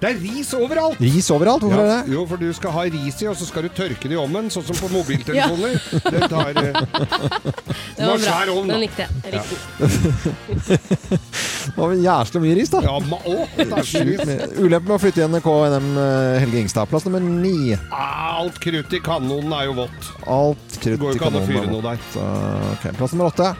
S5: Det er ris overalt!
S3: Ris overalt, hvorfor
S5: Ja,
S3: er det?
S5: Jo, for du skal ha ris i, og så skal du tørke det i ovnen, sånn som på mobiltelefoner. Den tar eh,
S4: Det var
S5: den
S4: bra.
S5: har svær ovn, da.
S4: Den likte jeg. Jeg likte den.
S3: Det var jævlig mye ris, da.
S5: Ja, ma å, det er så
S3: Sjukt
S5: ris.
S3: mye. Ulempe med å flytte inn i KNM eh, Helge Ingstad. Plass nummer ni.
S5: Alt krutt i kanonen er jo vått.
S3: Alt krutt i
S5: går jo ikke an å
S3: kanonen
S5: fyre
S3: var
S5: noe
S3: bort. Så, ok. Plass nummer åtte.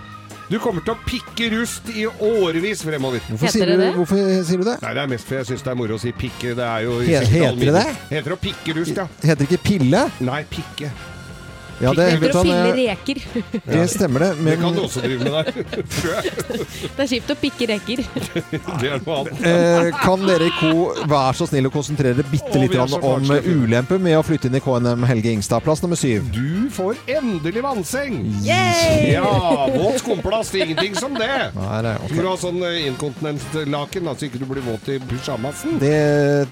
S5: Du kommer til å pikke rust i årevis fremover.
S3: Hvorfor Heter sier det du- det? sier du det?
S5: Nei, Det er mest fordi jeg syns det er moro å si pikke. Det er jo i
S3: He-
S5: siste
S3: heter
S5: alminnelig.
S3: det det?
S5: Heter å pikke rust, ja.
S3: Heter det ikke pille?
S5: Nei, pikke.
S3: Ja, det,
S4: Heter
S3: vet du
S4: å
S3: hva,
S4: pille
S3: det-
S4: reker.
S3: det stemmer, det.
S5: Det kan du også drive med der. Tror jeg.
S4: Det er kjipt å pikke reker.
S5: Det er noe annet.
S3: Eh, kan dere i ko være så snill å konsentrere dere bitte
S5: Å,
S3: litt
S5: vi er
S3: grann
S5: så
S3: om
S5: barnslige.
S3: ulemper med å flytte inn i KNM Helge Ingstad? Plass nummer syv.
S5: Du får endelig vannseng!
S3: Yay!
S5: Ja, våt skumplast. Ingenting som det.
S3: Nei, det, er
S5: Skal du
S3: ok.
S5: ha sånn eh, inkontinenslaken, da, så ikke du blir våt i pysjamasen?
S3: det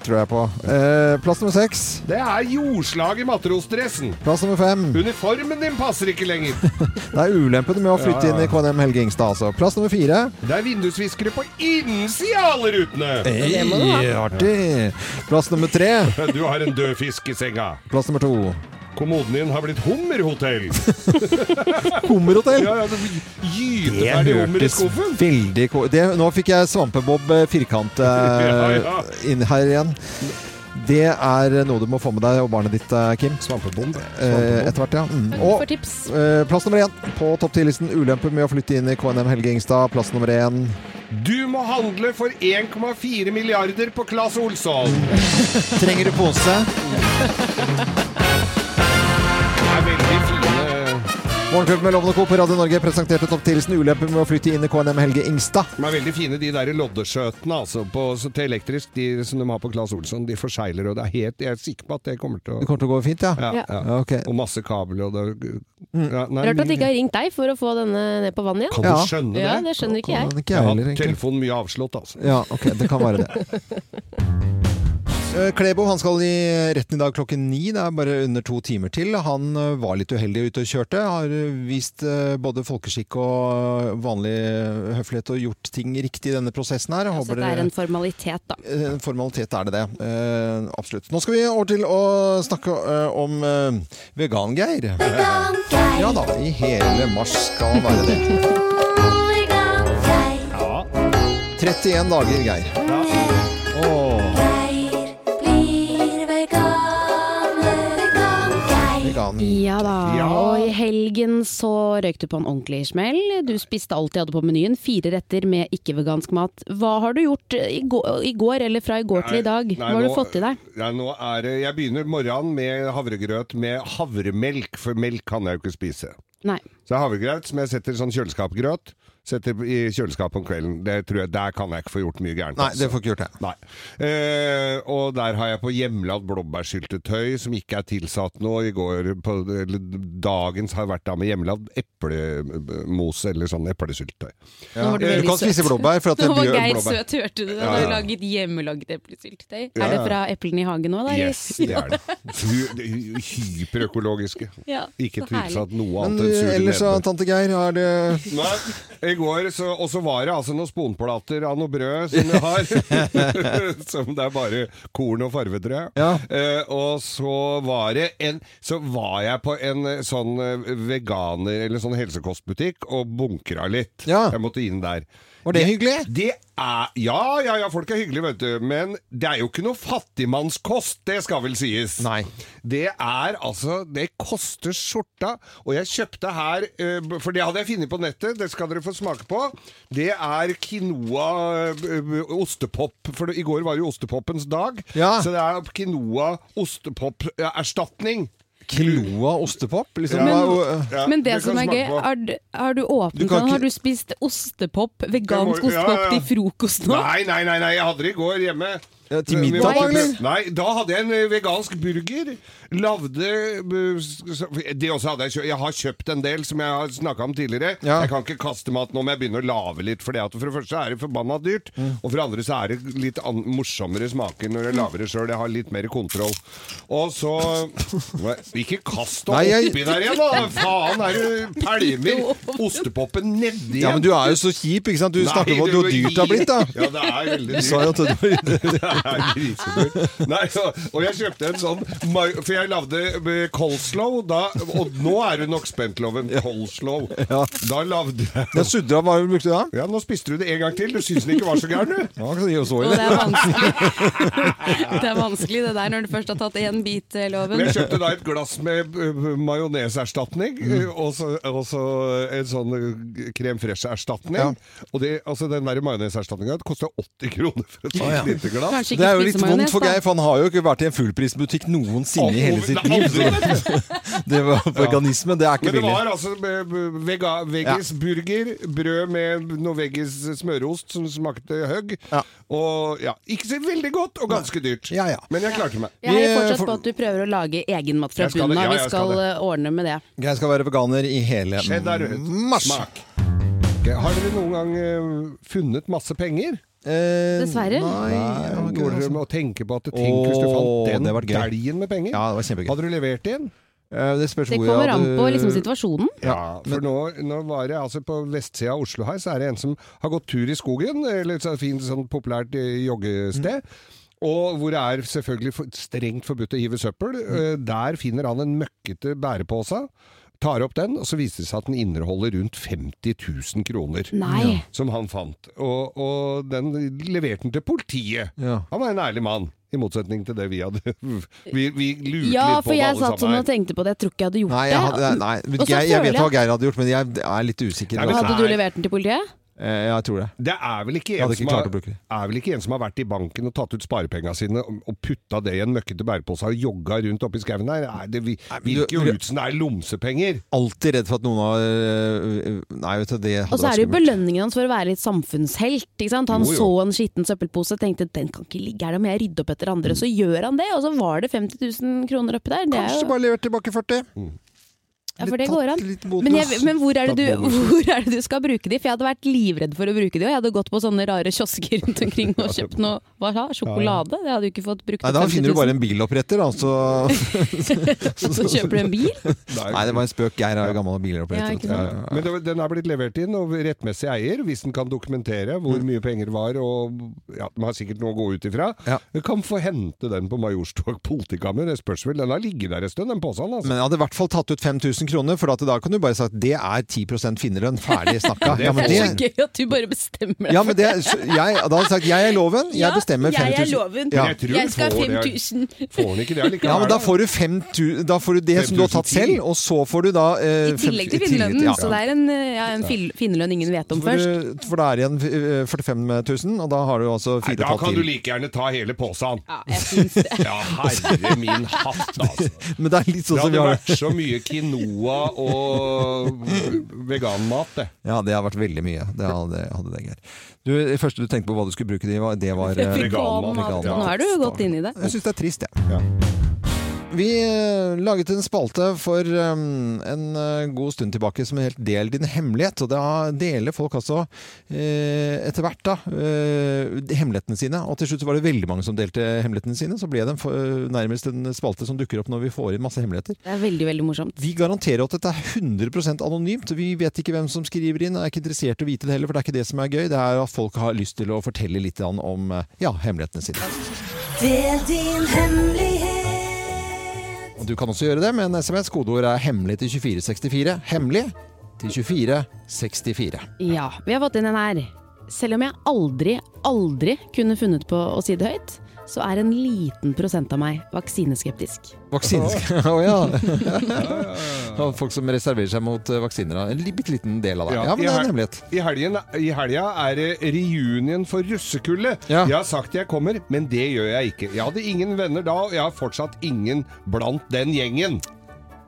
S3: tror jeg på. Eh, plass nummer seks.
S5: Det er jordslag i matrosdressen.
S3: Plass nummer fem.
S5: Uniformen din passer ikke lenger.
S3: Det er ulempene med å flytte
S5: Ja, ja,
S3: inn i KNM Helge Ingstad, altså. Plass nummer fire.
S5: Det er vindusviskere på innsida av alle rutene.
S3: Hey, artig. Plass nummer tre.
S5: Du har en død fisk i senga.
S3: Plass nummer to.
S5: Kommoden din har blitt hummerhotell.
S3: Hummerhotell?
S5: ja, ja, det blir gyteferdig hummer i skuffen.
S3: veldig ko- det, Nå fikk jeg svampebob eh, firkant eh,
S5: Ja, ja.
S3: inn her igjen. Det er noe du må få med deg og barnet ditt, eh, Kim.
S5: Svampebob.
S3: Eh, etter hvert, ja. Mm.
S4: Takk
S3: Og
S4: for tips.
S3: eh, plass nummer én på topp 10-listen. Ulemper med å flytte inn i KNM Helge Ingstad. Plass nummer én.
S5: Du må handle for 1,4 milliarder på Claes Olsson.
S3: Trenger du pose?
S5: Det er veldig fine
S3: Morgenklubben med Lovende Co. på Radio Norge presenterte topp 10-listen. Ulemper med å flytte inn i KNM Helge Ingstad.
S5: De er veldig fine, de der loddeskjøtene altså, på, så til elektrisk, de som de har på Claes Olsson. De forsegler, og det er helt, jeg er sikker på at det kommer til å
S3: Det kommer til å gå fint, ja?
S5: ja, ja. Og masse kabler og det,
S3: Mm.
S5: ja, nei,
S6: Rart at de
S5: mye-
S6: ikke har ringt deg for å få denne ned på vannet igjen.
S5: Kan du Ja. skjønne det?
S6: Ja, det skjønner ikke jeg.
S3: jeg
S5: har
S3: heller,
S5: hatt telefonen mye avslått, altså.
S3: Ja, ok, det kan være det. Eh, Klebo han skal i retten i dag klokken ni. Det er bare under to timer til. Han eh, var litt uheldig ute og kjørte. Har eh, vist eh, både folkeskikk og vanlig høflighet og gjort ting riktig i denne prosessen her. Jeg
S4: Så
S3: håper
S4: det er
S3: dere-
S4: en formalitet, da.
S3: Eh, En formalitet er det det. Eh, absolutt. Nå skal vi over til å snakke eh, om eh, vegan-Geir. Ja da, i hele mars skal være det. 31 dager, Geir. Åh, vegan.
S4: Ja da,
S3: Ja.
S4: og i helgen så røyk du på en ordentlig smell. Du spiste alt de hadde på menyen, fire retter med ikke-vegansk mat. Hva har du gjort eh, i går, i går eller fra i går til i dag?
S5: Nei,
S4: Hva har
S5: nå-
S4: du fått i deg?
S5: Nei, nå er, det- jeg begynner morgenen med havregrøt med havremelk, for melk kan jeg jo ikke spise.
S4: Nei.
S5: Så jeg har havregrøt som jeg setter i sånn kjøleskapgrøt. Setter i kjøleskapet om kvelden. Det tror jeg, Der kan jeg ikke få gjort mye gærent. altså.
S3: Nei, det får ikke gjort det.
S5: Nei. Eh, og der har jeg på hjemmelagd blåbærsyltetøy som ikke er tilsatt noe. I går på eller, dagens har jeg vært da med hjemmelagd eplemose eller sånn eplesyltetøy.
S3: Nå var
S5: eh,
S3: du veldig Du kan spise søt. blåbær, for at
S4: Nå
S3: det
S4: var
S3: blir-
S4: Geir
S5: blåbær.
S4: søt, hørte du det?
S5: Ja,
S4: Han har
S5: ja.
S4: laget hjemmelaget eplesyltetøy.
S5: Ja,
S4: Er det
S5: ja.
S4: fra eplene i hagen nå, da? eller?
S5: Yes, det er det. Hy- hy- Hyperøkologiske.
S4: Ja,
S5: Ikke
S4: så herlig.
S5: tilsatt noe
S3: Men
S5: annet enn sur
S3: ellers,
S5: nedbør.
S3: tante Geir, er det
S5: Nei, i går så, Og så var det altså noen sponplater av noe brød som jeg har. som det er bare korn og farvetrød. Eh, og så var det en Så var jeg på en eh, sånn eh, veganer- eller sånn helsekostbutikk og bunkra litt. Jeg måtte inn der.
S3: Var det hyggelig?
S5: Det er, ja, ja, ja, folk er hyggelige, vet du. Men det er jo ikke noe fattigmannskost, det skal vel sies. Nei. Det er altså Det koster skjorta. Og jeg kjøpte her, eh, b- for det hadde jeg funnet på nettet, det skal dere få smake på. Det er quinoa eh, b- ostepop. For det, i går var jo ostepoppens dag. Så det er quinoa ostepop-erstatning.
S3: Quinoa ostepop? Liksom?
S4: Men,
S5: Ja,
S4: men det,
S5: det kan
S4: som er
S5: smake
S4: gøy,
S5: på.
S4: har, du- har du
S5: eh, Du
S4: åpnet
S5: kan
S4: den?
S5: ikke-
S4: Har du spist ostepop, vegansk
S5: Det må- ja,
S4: ostepop
S5: ja.
S4: til frokost nå?
S5: Nei, nei, nei, nei, jeg hadde det i går hjemme.
S3: til middag,
S5: Men-
S3: eller?
S5: Nei, da hadde jeg en eh, vegansk burger. Lagde eh, s- s- Det også hadde jeg kjøpt. Jeg har kjøpt en del som jeg har snakka om tidligere. Jeg kan ikke kaste mat nå, men jeg begynner å lage litt. For, det at for det første er det forbanna dyrt,
S3: Mm.
S5: og for det andre så er det litt an morsommere smaker når jeg lager det sjøl. Jeg har litt mer kontroll. Og så Nei, Ikke kast det
S3: Nei, jeg-
S5: oppi der igjen, da! Faen, er du pælmer ostepoppen nedi
S3: Ja, men du er jo så kjip, ikke sant? Du
S5: Nei,
S3: snakker om
S5: du-
S3: hvor dyrt det har blitt, da.
S5: Ja, det er veldig
S3: Du sa jo at det var
S5: det er grisedyrt. Nei, så- og jeg kjøpte en sånn mai- For jeg lagde med coleslaw, da, og nå er du nok spent, Loven. Coleslaw. Da lagde jeg
S3: Den sudra, hva brukte du da?
S5: Ja, Nå spiste du det en gang til. Du syns den ikke var så gæren, du.
S3: Ja, kan du gi oss
S4: Å,
S3: over
S4: det
S3: det?
S4: er vanskelig. det er vanskelig det der når du først har tatt én bit, eh, loven.
S5: Men jeg kjøpte da et glass med ø, ø, majoneserstatning,
S3: Mm.
S5: ø, og så og så en sånn ø, crème fraiche-erstatning. Og det, altså, den der majoneserstatninga kosta 80 kroner for et sånt
S3: Å, ja.
S5: lite glass.
S3: Det er jo litt vondt for Geir, for han har jo ikke vært i en fullprisbutikk noensinne i hele sitt liv. så- Det var veganisme, det er ikke
S5: Men det
S3: billig.
S5: var altså eh, b- vega, veggis burger, brød med noe veggis smøreost som smakte høgg. Og ja, ikke så veldig godt, og ganske dyrt. Men jeg klarte meg.
S4: Jeg heier fortsatt på at du prøver å lage egen mat fra
S3: eh, Jeg skal
S4: bunnen
S3: det, ja, jeg
S4: av. Vi
S3: skal
S4: skal eh, ordne med det.
S3: Geir skal være veganer i hele
S5: Cheddar rød.
S3: mars.
S5: Smak. Ok, Har dere noen gang eh, funnet masse penger?
S4: Dessverre.
S3: Eh, nei, jeg har ikke
S5: Går
S3: det,
S5: dere
S3: altså.
S5: med å tenke på at Tenk hvis du
S3: Åh,
S5: fant
S3: det
S5: den
S3: hadde vært gøy.
S5: deljen med penger?
S3: Ja, det var kjempegøy.
S5: Hadde du levert inn?
S3: Eh, Det spørs
S4: Det
S3: hvor jeg
S4: kommer an
S3: hadde-
S4: på liksom, situasjonen.
S5: Ja, for nå, nå var det altså på vestsida av Oslo her, så er det en som har gått tur i skogen, eller et sånt fint sånn populært eh, joggested. Og hvor det er selvfølgelig for- strengt forbudt å hive søppel. Eh, Der finner han en møkkete bærepose. Tar opp den, og så viser det seg at den inneholder rundt 50 000 kroner.
S4: Nei.
S5: Ja, Som han fant. Og, og den leverte han til politiet. Han var en ærlig mann. I motsetning til det vi hadde Vi, vi lurte
S4: Ja,
S5: litt på
S4: for
S5: det
S4: jeg
S5: alle
S4: satt sånn
S5: sammen
S4: og tenkte på det. Jeg tror ikke jeg hadde gjort
S3: Nei, jeg, hadde,
S4: det.
S3: nei,
S4: Og
S3: jeg,
S4: så
S3: jeg, vet
S4: føler
S3: hva Geir hadde gjort, men jeg er litt usikker.
S5: Nei, men
S4: Hadde du levert den til politiet?
S3: Eh, Jeg tror det.
S5: Det er vel, ikke
S3: Jeg
S5: en
S3: hadde ikke
S5: som
S3: klart
S5: har,
S3: å bruke det.
S5: er vel ikke en som har vært i banken og tatt ut sparepengene sine og og putta det i en møkkete bærepose og jogga rundt oppi skauen der? Nei, det vi- virker jo ut som det er lomsepenger.
S3: Alltid redd for at noen har øh, Nei, vet du, det hadde
S4: Og så er det jo
S3: vært skummelt.
S4: belønningen hans for å være litt samfunnshelt. Ikke sant? Han
S3: Jo, jo.
S4: så en skitten søppelpose tenkte den kan ikke ligge her, da må jeg rydde opp etter andre. Så gjør han det, og så var det 50 000 kroner oppi der. Det er
S3: Kanskje
S4: jo,
S3: bare levert tilbake 40.
S4: ja, for det går an.
S3: Litt
S4: Men, jeg,
S3: botløs.
S4: men hvor, er det
S3: Tatt
S4: du,
S3: bonusen.
S4: hvor er det du skal bruke de? For jeg hadde vært livredd for å bruke de, og jeg hadde gått på sånne rare kiosker rundt omkring og kjøpt noe hva, sa- sjokolade. Det hadde du ikke fått brukt
S3: Nei, da
S4: 50 000.
S3: finner du bare en biloppretter, da. Så...
S4: Så kjøper du en bil?
S3: Nei, det var en spøk. Geir er jo gammel
S4: Ja,
S3: biloppretter.
S4: ikke sant.
S3: Ja, ja.
S5: Men det, den er blitt levert inn, og rettmessig eier, hvis den kan dokumentere
S3: Mm.
S5: hvor mye penger det var, og ja, de har sikkert noe å gå ut ifra, Du kan få hente den på Majorstog politikammer. Det spørs vel, den har ligget der en stund, den posen. Altså.
S3: Men jeg hadde i hvert fall tatt ut 5000 kroner, for at da kan du bare sagt det er 10 finnerlønn. Ferdig snakka.
S4: Det
S3: Ja, men
S4: er så
S3: det,
S4: gøy at du bare bestemmer deg
S3: ja, men det,
S4: for
S3: så jeg, da hadde jeg sagt jeg er loven, jeg
S4: Ja,
S3: bestemmer 5000.
S4: Jeg er loven.
S3: Ja.
S4: Jeg skal ha 5000.
S3: Ja, men da får du, 5000 da får du det som du har tatt
S5: 5000 til.
S3: selv, og så får du da eh,
S4: I tillegg
S3: fem-
S4: til
S3: i tillegg
S4: finnerlønnen,
S3: ja.
S4: så det er en, eh, ja, en fil- finnerlønn ingen vet om
S3: For,
S4: først.
S3: du- for det er igjen eh, 45 000, og da har du altså
S5: Nei, da
S3: 4,5
S5: kan
S3: til.
S5: du like gjerne ta hele posen. Ja, herre min hatt, altså.
S3: Men det er litt sånn som vi
S5: det hadde
S3: har
S5: vært så mye quinoa og veganmat, det.
S3: Ja, det har vært veldig mye. Det hadde, hadde det, Geir. Du, det første du tenkte på hva du skulle bruke det i, var- det var eh, veganmat.
S4: Nå er du jo godt inne i det.
S3: Jeg syns det er trist, jeg. Vi eh, laget en spalte for um, en eh, god stund tilbake som helt del din hemmelighet. Og da deler folk altså eh, etter hvert da eh, de hemmelighetene sine. Og til slutt så var det veldig mange som delte hemmelighetene sine. Så ble det en, for- eh, nærmest en spalte som dukker opp når vi får inn masse hemmeligheter.
S4: Det er veldig, veldig morsomt.
S3: Vi garanterer at dette er 100 anonymt. Vi vet ikke hvem som skriver inn. Jeg er ikke interessert i å vite det heller, for det er ikke det som er gøy. Det er at folk har lyst til å fortelle litt grann om eh, ja, hemmelighetene sine.
S18: Del din hemmelighet.
S3: Og du kan også gjøre det med en SMS. Kodeord er 'hemmelig' til 2464. Hemmelig til 2464.
S4: Ja, vi har fått inn en her. Selv om jeg aldri, aldri kunne funnet på å si det høyt, så er en liten prosent av meg vaksineskeptisk.
S3: Vaksinesk... Å ja. Og Folk som reserverer seg mot eh, vaksiner. da. En li- bitte liten del av det.
S5: Ja,
S3: Ja, men det
S5: i
S3: er
S5: hel-
S3: en hemmelighet.
S5: I helgen, I helga er det reunion for russekullet. Jeg har sagt jeg kommer, men det gjør jeg ikke. Jeg hadde ingen venner da, og jeg har fortsatt ingen blant den gjengen.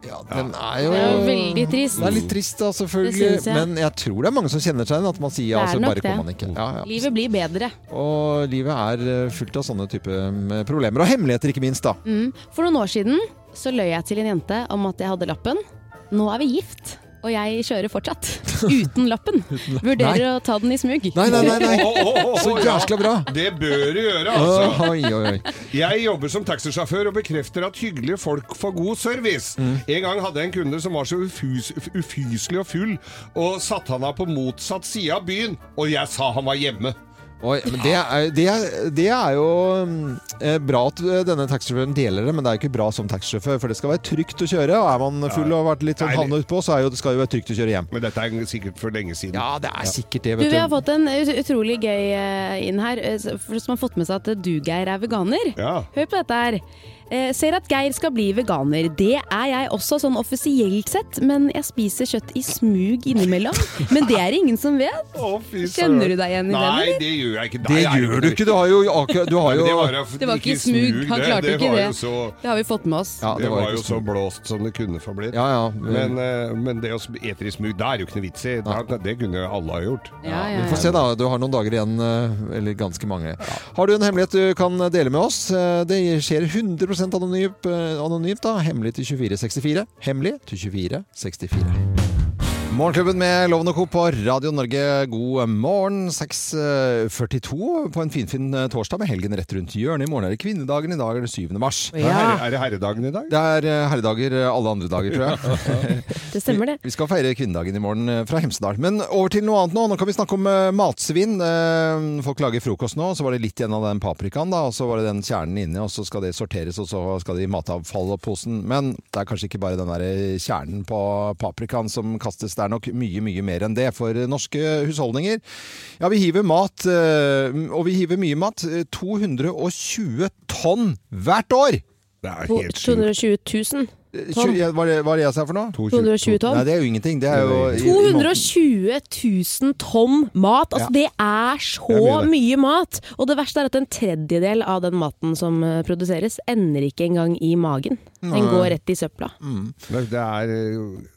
S3: Ja, den er
S4: Det er jo veldig trist.
S3: Det er litt trist, da, selvfølgelig.
S4: Det syns jeg.
S3: Men jeg tror det er mange som kjenner seg igjen. At man sier ja,
S4: Det er
S3: så
S4: nok
S3: bare
S4: det.
S3: kommer man ikke. Ja, ja.
S4: Livet blir bedre.
S3: Og livet er eh, fullt av sånne type mm, problemer. Og hemmeligheter, ikke minst, da.
S4: Mm. For noen år siden så løy jeg til en jente om at jeg hadde lappen. Nå er vi gift, og jeg kjører fortsatt. Uten lappen. Vurderer
S3: Nei.
S4: å ta den i smug.
S3: Nei, nei, nei! nei.
S5: Å, å, å, å,
S3: Så
S5: ja.
S3: jæskla bra!
S5: Det bør du gjøre, altså.
S3: Oi, oi, oi.
S5: Jeg jobber som taxisjåfør og bekrefter at hyggelige folk får god service.
S3: Mm.
S5: En gang hadde jeg en kunde som var så ufys ufyselig og full, og satte han av på motsatt side av byen, og jeg sa han var hjemme.
S3: Oi, men det, er, det, er, det er jo mm, eh, bra at eh, denne taxisjåføren deler det, men det er jo ikke bra som taxisjåfør, for det skal være trygt å kjøre. Og er man full og har vært litt sånn havna utpå, så er jo, det skal jo være trygt å kjøre hjem.
S5: Men dette er sikkert for lenge siden.
S3: Ja, det er sikkert det,
S4: Du,
S3: vet
S4: vi
S3: du.
S4: har fått en ut- utrolig gøy eh, inn her, eh, for- som har fått med seg at du, Geir, er veganer.
S5: Ja.
S4: Hør på dette her. Eh, ser at Geir skal bli veganer. Det er jeg også, sånn offisielt sett, men jeg spiser kjøtt i smug innimellom. Men det er det ingen som vet. Kjenner du deg igjen i den,
S5: Nei,
S4: eller?
S5: det gjør jeg ikke.
S3: Det gjør du ikke! Du har jo akkurat Du har jo
S5: Det var,
S4: Det var ikke i smug, han klarte
S5: det, det
S4: ikke
S5: var
S4: det.
S5: Jo så,
S4: Det har vi fått med oss.
S5: det, var, jo så blåst som det kunne få blitt. men, eh, men det å sp- ete i smug, det er jo ikke noe vits i. Da- Det, kunne jo alle ha gjort.
S4: Ja, ja,
S3: Vi får se, da. Du har noen dager igjen, eh, eller ganske mange. Har du en hemmelighet du kan dele med oss? Eh, Det skjer 100 anonymt, eh, anonymt da. Hemmelig til 2464. Hemmelig til 2464. Morgenklubben med Loven og Co. på Radio Norge, god morgen. 6.42 på en finfin fin torsdag med helgen rett rundt hjørnet. I morgen er det kvinnedagen, i dag er det 7. mars.
S5: Er det herre- er det herredagen i dag?
S3: Det er eh, herredager eh, alle andre dager, tror jeg.
S4: Det stemmer, det.
S3: Vi, vi skal feire kvinnedagen i morgen eh, fra Hemsedal. Men over til noe annet nå. Nå kan vi snakke om eh, matsvinn. Eh, Folk lager frokost nå, så var det litt igjen av den paprikaen, da, og så var det den kjernen inni, og så skal det sorteres, og så skal det i matavfallposen. Men det er kanskje ikke bare den der eh, kjernen på paprikaen som kastes. Det er nok mye, mye mer enn det for eh, norske husholdninger. Ja, vi hiver mat, eh, og vi hiver mye mat. Eh, 220 tonn hvert år! Det er
S4: På 220 000 tonn.
S3: Tjue- Var det, var det jeg sa for noe?
S4: 220 tonn?
S3: Nei, det er jo ingenting. Det er jo i- i måten.
S4: 220 000 tonn mat! Altså,
S3: Ja.
S4: Det er så
S3: Det er
S4: mye,
S3: mye,
S4: mat! Og det verste er at en tredjedel av den maten som eh, produseres, ender ikke engang i magen. Den
S5: Nei.
S4: går rett i søpla.
S3: Mm.
S5: Det, det, er,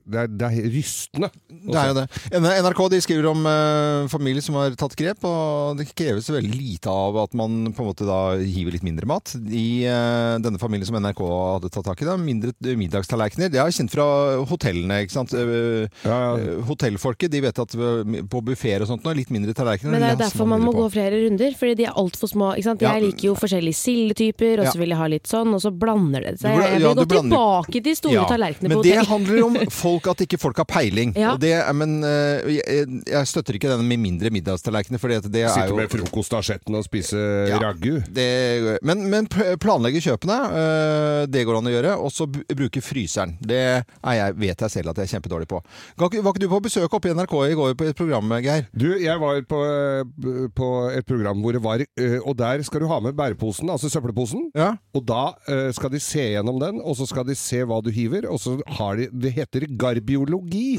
S5: det, er, det er rystende. Altså,
S3: Det er jo det. N- NRK de skriver om eh, familier som har tatt grep, og det kreves veldig lite av at man på en måte da hiver litt mindre mat. I eh, denne familien som NRK hadde tatt tak i, da, mindre eh, middagstallerkener. Det er jo kjent fra hotellene. ikke sant? Eh, eh, Hotellfolket de vet at eh, på buffeer og sånt nå, litt mindre tallerkener.
S4: Men det er jo
S3: la
S4: derfor
S3: små
S4: man må
S3: mindre
S4: gå
S3: på.
S4: flere runder, fordi de er altfor små. Ikke sant? Jeg
S3: Ja.
S4: liker jo forskjellige sildetyper, og
S3: Ja.
S4: så vil jeg ha litt sånn, og så blander det
S3: Du
S4: seg.
S3: bla-
S4: Jeg
S3: ja,
S4: vil
S3: du
S4: gå
S3: blander-
S4: tilbake til store
S3: Ja,
S4: tallerkener
S3: Men
S4: på
S3: det
S4: hotell.
S3: handler om folk at ikke folk har peiling.
S4: Ja.
S3: Og det, er- men eh, jeg, jeg støtter ikke den med mindre middagstallerkener, for det er jo
S5: Sitte med frokostasjetten og spise ragu.
S3: det, men, men pl- planlegge kjøpene, øh, det går an å gjøre. Og så bu- bruke fryseren. Det er jeg, vet jeg selv at jeg er kjempedårlig på. Var ikke, var ikke du på besøk oppe i NRK i går på et program, Geir?
S5: Du, jeg var på, eh, på et program hvor det var eh, Og der skal du ha med bæreposen, altså søppelposen. Og da eh, skal de se gjennom den, og så skal de se hva du hiver. Og så har de Det heter garbiologi.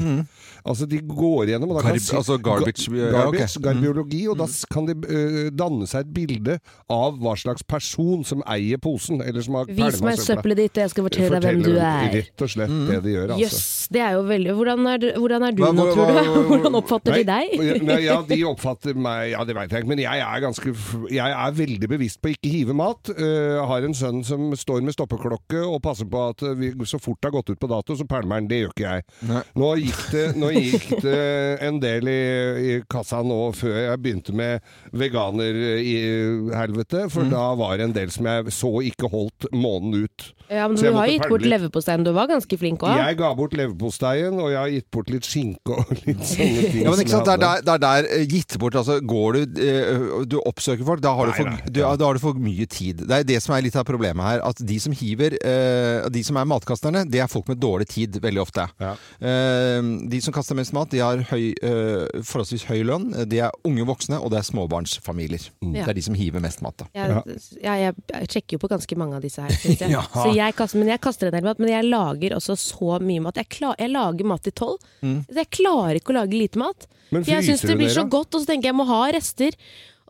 S5: Altså de går gjennom og da
S3: Garb-
S5: kan se,
S3: Mm. altså garbage-
S5: ga-
S3: ja, ok. Mm.
S5: garbage garbiologi, og da s- kan de eh, danne seg et bilde av hva slags person som eier posen. Eller som har
S4: Vis meg søppelet ditt, og jeg skal fortelle deg hvem du er. Mm.
S5: Rett og slett det de gjør,
S4: Jøss,
S5: altså.
S4: det er jo veldig Hvordan er, hvordan er du
S5: Hva-
S4: nå,
S5: hva-
S4: tror du?
S5: hva- hva-
S4: Hvordan oppfatter de deg?
S5: Nei, nei, ja, de oppfatter meg Ja, det veit jeg ikke, men jeg er, ganske, f- jeg er veldig bevisst på ikke hive mat. Eh, Jeg har en sønn som står med stoppeklokke og passer på at vi, så fort det har gått ut på dato, så pælmer han. Det gjør ikke jeg. Nå gikk, det, nå gikk det en del i, i kassa nå før jeg begynte med veganerhelvete, for da var det en del som jeg så ikke holdt måneden ut.
S4: Ja, men
S5: Så
S4: Du
S5: jeg
S4: har
S5: måtte
S4: gitt bort
S5: pælme litt.
S4: leverposteien, du var ganske flink òg.
S5: Jeg ga bort leverposteien, og jeg har gitt bort litt skinke og litt sånne ting.
S3: Ja, men ikke
S5: som
S3: sant, det
S5: jeg
S3: er
S5: hadde.
S3: der, det er der eh, gitt bort. Altså, går du, eh, du oppsøker folk, da har,
S5: Nei,
S3: du
S5: nei,
S3: for, du, da har du for mye tid. Det er det som er litt av problemet her. At de som hiver, eh, de som er matkasterne, det er folk med dårlig tid veldig ofte. Eh, de som kaster mest mat, de har høy, eh, forholdsvis høy lønn. De er unge voksne, og det er småbarnsfamilier.
S4: Ja.
S3: Det er de som hiver mest mat, da.
S4: Jeg, jeg, jeg, jeg sjekker jo på ganske mange av disse her. Synes jeg.
S3: Ja.
S4: Så jeg kaster, men jeg kaster en del mat, men jeg lager også så mye mat. Jeg, klar, jeg lager mat til tolv.
S3: Mm.
S4: Så jeg klarer ikke å lage lite mat.
S3: Men
S4: For jeg
S3: fryser
S4: syns det
S3: du
S4: blir
S3: det,
S4: så
S3: da?
S4: godt, og så tenker jeg jeg må ha rester.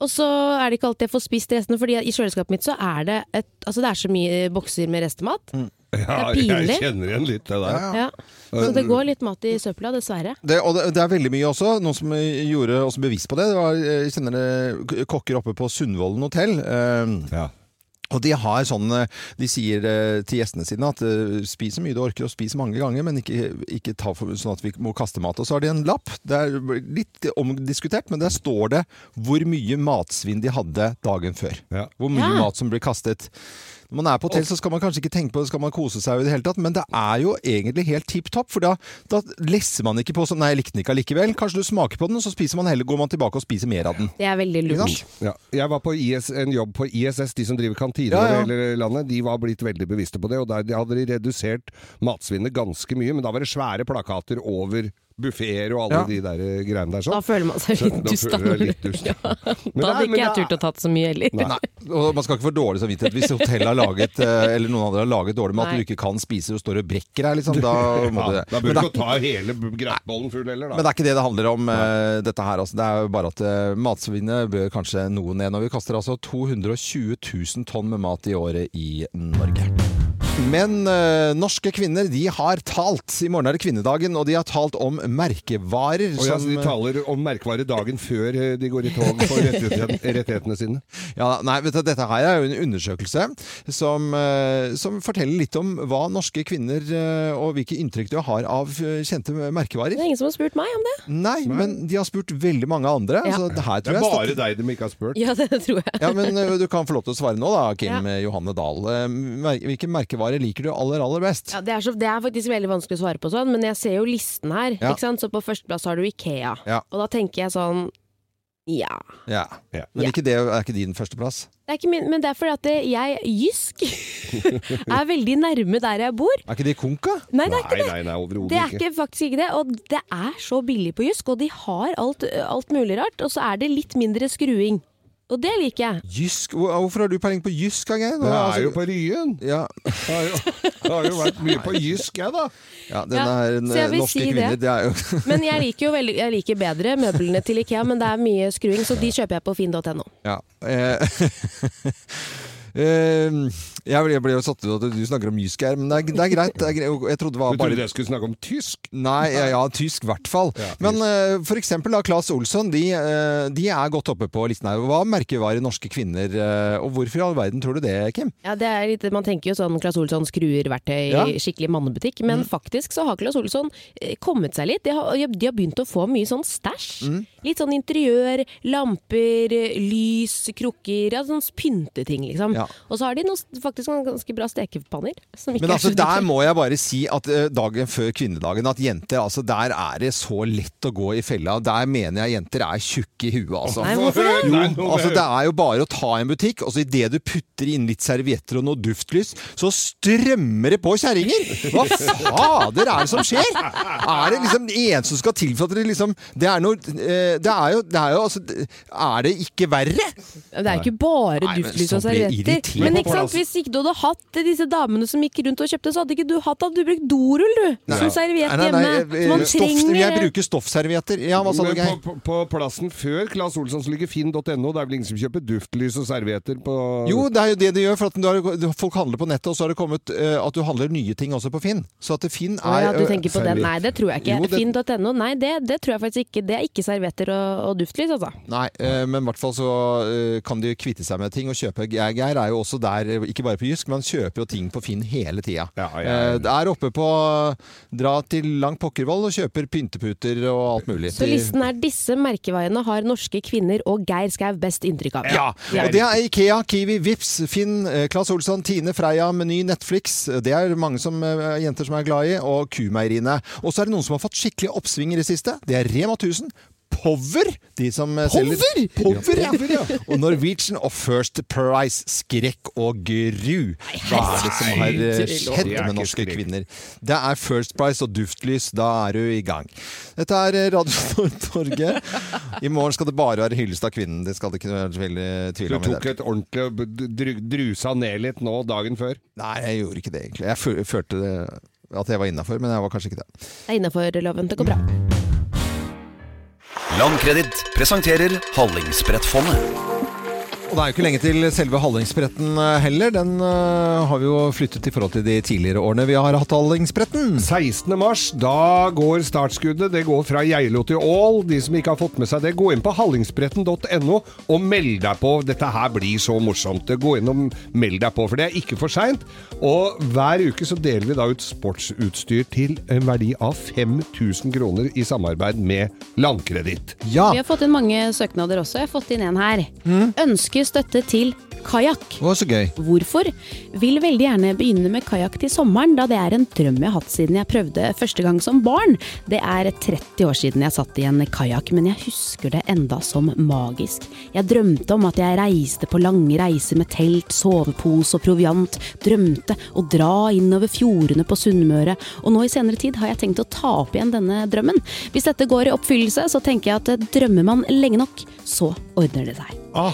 S4: Og så er det ikke alltid jeg får spist restene, Fordi i kjøleskapet mitt så er det et, altså det er så mye bokser med restemat.
S5: Ja,
S4: Det er pinlig.
S5: Jeg kjenner igjen litt det der.
S4: Ja. Så det går litt mat i søpla, dessverre.
S3: Det, og det, det er veldig mye også. Noen som eh, gjorde oss bevisst på det. det var, eh, jeg kjenner det k- kokker oppe på Sundvolden hotell. Eh, Og de har sånn eh, De sier eh, til gjestene sine at eh, spis så mye du orker, og spis mange ganger, men ikke, ikke ta for, sånn at vi må kaste mat. Og så har de en lapp. Det er litt omdiskutert, men der står det hvor mye matsvinn de hadde dagen før. Hvor mye
S5: Ja.
S3: mat som blir kastet. Når man er på hotell, så skal man kanskje ikke tenke på det, skal man kose seg i det hele tatt, men det er jo egentlig helt tipp topp, for da, da lesser man ikke på sånn 'nei, jeg likte den ikke allikevel'. Kanskje du smaker på den, og så spiser man heller, går man tilbake og spiser mer av den.
S4: Det er veldig
S3: Ikke
S4: lurt.
S3: sant?
S5: Ja. Jeg var på IS, en jobb på ISS, de som driver kantiner
S3: Ja, ja.
S5: over hele landet. De var blitt veldig bevisste på det, og der de hadde de redusert matsvinnet ganske mye. Men da var det svære plakater over buffeer og alle
S4: Ja.
S5: de der eh, greiene der. Sånn.
S4: Da føler man seg
S5: Så
S4: litt
S5: da
S4: dust.
S5: føler jeg litt dust. Men
S4: Da
S5: det
S4: hadde
S5: er- men
S4: ikke jeg
S5: det er-
S4: turt å tatt så mye heller.
S3: Nei. Og man skal ikke få dårlig samvittighet hvis hotellet har laget eh, eller noen andre har laget dårlig mat og du ikke kan spise og står og brekker deg, liksom. Da må du
S5: ja,
S3: det. Men
S5: da bør du
S3: det er-
S5: ikke ta hele gressbollen full heller, da.
S3: Men det er ikke det det handler om, eh, dette her. Altså. Det er jo bare at eh, matsvinnet bør kanskje noe ned. Når vi kaster altså 220 000 tonn med mat i året i Norge. Men eh, norske kvinner de har talt. I morgen er det kvinnedagen, og de har talt om merkevarer.
S5: Og ja, så de taler om merkevare dagen før eh, de går i tog for rettighetene, rettighetene sine.
S3: Ja, nei, vet du, Dette her er jo en undersøkelse som, eh, som forteller litt om hva norske kvinner eh, og hvilke inntrykk de har av eh, kjente merkevarer.
S6: Det er ingen som har spurt meg om det.
S3: Nei, men de har spurt veldig mange andre.
S6: Ja.
S3: Så det, her
S5: Det
S3: tror
S5: er
S3: jeg
S5: bare deg de ikke har spurt.
S6: Ja, det tror jeg.
S3: Ja, men eh, Du kan få lov til å svare nå, da, Kim
S4: Ja.
S3: eh, Johanne Dahl. Eh, mer- Hvilke merkevarer liker du aller, aller best?
S4: Ja, det, er så, det er faktisk veldig vanskelig å svare på sånn, men jeg ser jo listen her.
S3: Ja.
S4: Ikke sant? Så på førsteplass har du Ikea.
S3: Ja.
S4: Og da tenker jeg sånn Ja.
S3: Ja. Men ikke det er ikke din førsteplass?
S4: Det er ikke min, men det er fordi at det- jeg, Jysk, er veldig nærme der jeg bor.
S3: Er ikke det konk, da?
S4: Nei, det er ikke det.
S5: Nei, nei, overhodet
S4: Det er ikke, faktisk ikke det, og det er så billig på Jysk, og de har alt, alt mulig rart. Og så er det litt mindre skruing. Og det liker jeg.
S3: Jysk? Hvor- Hvorfor har du peiling på jysk? Geir?
S5: Det
S3: Altså-
S5: er jo på Ryen.
S3: Ja.
S5: Det har jo, det har jo vært mye på Jysk, jeg, da.
S3: Ja, den
S4: Ja,
S3: er eh,
S4: så jeg vil
S3: norske
S4: si det.
S3: kvinner, det. er jo
S4: Men jeg liker jo veldig, jeg liker bedre møblene til Ikea, men det er mye skruing, så de kjøper jeg på finn.no.
S3: Ja. Eh, eh, jeg ble- jeg ble jo satt ut at du snakker om jysk her, men det er, det er greit. Det er greit. Jeg trodde det var
S5: Du trodde
S3: bare
S5: jeg skulle snakke om tysk?
S3: Nei, ja, ja tysk i hvert fall. Men eh, for eksempel da, Claes Olsson, de, eh, de er godt oppe på listen her. Hva merkevarer norske kvinner, eh, og hvorfor i all verden tror du det, Kim?
S4: Ja, det er litt, Man tenker jo sånn Claes Olsson skruer verktøy
S3: Ja. Mm.
S4: i skikkelig mannebutikk, men faktisk så har Claes Olsson eh, kommet seg litt. De har, de har begynt å få mye sånn stæsj.
S3: Mm.
S4: Litt sånn interiør, lamper, eh, lys, krukker, ja, sånn pynteting liksom. Og så har de noe, s- faktisk noen ganske bra stekepanner. Som ikke
S3: Men altså,
S4: er så
S3: der
S4: dyre.
S3: må jeg bare si at eh, dagen før kvinnedagen, at jenter, altså der er det så lett å gå i fella. Der mener jeg jenter er tjukke i huet, altså.
S5: Nei, hvorfor det?
S3: Jo,
S5: Nei, nå-
S3: altså det er jo bare å ta en butikk, og så idet du putter inn litt servietter og noe duftlys, så strømmer det på kjerringer! Hva fader er det som skjer? Er det liksom det eneste som skal til for at det liksom Det er noe eh, Det er jo, det er jo altså det- Er det ikke verre?
S4: Det er jo ikke bare
S3: Nei, men
S4: duftlys
S3: så
S4: og
S3: blir jeg
S4: servietter.
S3: irritert.
S4: Men ikke sant, hvis ikke du hadde hatt disse damene som gikk rundt og kjøpte, så hadde ikke du hatt Hadde du brukt dorull, du! Som serviett
S3: Nei, nei,
S4: hjemme.
S3: nei,
S4: Så man
S3: eh, stoff-
S4: trenger
S3: Jeg bruker stoffservietter. Ja, hva sa du,
S5: Men
S3: Geir?
S5: på, på, på plassen før Claes Olsson så ligger finn.no. Det er vel ingen som kjøper duftlys og servietter på
S3: Jo, det er jo det de gjør. For at du har, du- folk handler på nettet, og så har det kommet eh, at du handler nye ting også på Finn. Så at Finn er
S4: Å ja, du
S3: eh,
S4: tenker på den. Nei, det tror jeg ikke.
S3: Jo, det-
S4: Finn.no, nei, det, det tror jeg faktisk ikke. Det er ikke servietter og, og duftlys, altså.
S3: Nei, eh, men i hvert fall så eh, kan de kvitte seg med ting og kjøpe. Geir Geir er jo også der, eh, ikke bare på Jysk, men han kjøper jo ting på Finn hele tida.
S5: ja.
S3: Eh, Det er oppe på Dra til langt pokkervoll og kjøper pynteputer og alt mulig.
S4: Så listen er disse merkevaiene har norske kvinner og Geir Skau best inntrykk av.
S3: Ja, og det er Ikea, Kiwi, Vips, Finn, eh, Claes Olsson, Tine, Freia, Meny, Netflix. Det er mange som, eh, jenter som er glad i, og Kumeieriene. Og så er det noen som har fått skikkelig oppsving i det siste. Det er Rema 1000. Power! De som eh, selger
S5: Power?
S3: Power, ja.
S5: Ja, Power, ja.
S3: Og Norwegian og First Price. Skrekk og gru. Hva er det som har eh,
S5: Nei,
S3: skjedd
S5: det er
S3: med
S5: ikke
S3: norske
S5: skrekk.
S3: kvinner? Det er First Price og duftlys. Da er du i gang. Dette er eh, Radio Norge. I morgen skal det bare være hyllest av kvinnen. Det skal det ikke være veldig
S5: Du
S3: tvil om. i det.
S5: tok et ordentlig og b- dru- drusa ned litt nå dagen før?
S3: Nei, jeg gjorde ikke det egentlig. Jeg fø- følte det, at jeg var innafor, men jeg var kanskje ikke det.
S4: Det er innafor loven. Det går bra.
S9: Landkreditt presenterer Hallingsbrettfondet.
S3: Og det er jo ikke lenge til selve Hallingsbretten eh, heller. Den eh, har vi jo flyttet i forhold til de tidligere årene vi har hatt Hallingsbretten.
S5: 16. mars, da går startskuddet. Det går fra Geilo til Ål. De som ikke har fått med seg det, gå inn på hallingsbretten.no og meld deg på. Dette her blir så morsomt. Gå inn og meld deg på, for det er ikke for seint. Og hver uke så deler vi da ut sportsutstyr til en verdi av 5000 kroner i samarbeid med Landkreditt.
S4: Vi har fått inn mange søknader også. Jeg har fått inn en her.
S3: Mm.
S4: Ønsker støtte til kajakk.
S3: Å, så gøy.
S4: Hvorfor? Vil veldig gjerne begynne med kajakk til sommeren, da det er en drøm jeg har hatt siden jeg prøvde første gang som barn. Det er 30 år siden jeg satt i en kajakk, men jeg husker det enda som magisk. Jeg drømte om at jeg reiste på lange reiser med telt, sovepose og proviant, drømte å dra innover fjordene på Sunnmøre, og nå i senere tid har jeg tenkt å ta opp igjen denne drømmen. Hvis dette går i oppfyllelse, så tenker jeg at eh, drømmer man lenge nok, så ordner det seg.
S3: Ah,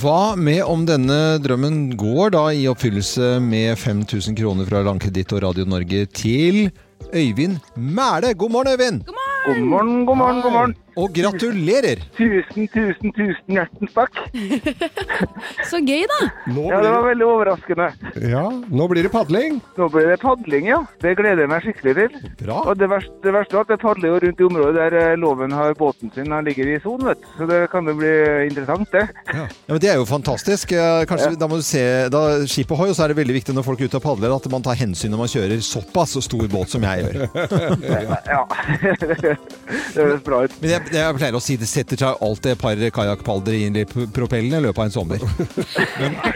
S3: hva med om denne drømmen går da i oppfyllelse med 5000 kroner fra Landkreditt og Radio Norge til Øyvind Mæle? God morgen, Øyvind!
S19: God morgen, god morgen, god morgen.
S3: Og gratulerer!
S8: Tusen, tusen, tusen hjertens takk.
S4: Så gøy, da.
S8: Ja, det var veldig overraskende.
S5: Ja, nå blir det padling.
S8: Nå blir det padling, ja. Det gleder jeg meg skikkelig til.
S5: Bra.
S8: Og det verste, det verste er at jeg padler jo rundt i området der eh, loven har båten sin. Han ligger i sonen, vet du. Så det kan jo bli interessant, det.
S3: Ja, men Det er jo fantastisk. Eh, Kanskje Da må du se da, skip ohoi, og så er det veldig viktig når folk er ute og padler, at man tar hensyn når man kjører såpass stor båt som jeg gjør.
S8: ja. det høres bra ut.
S3: Men jeg, jeg pleier å si det setter seg alltid et par kajakkpadlere inn i p- propellen i løpet av en sommer.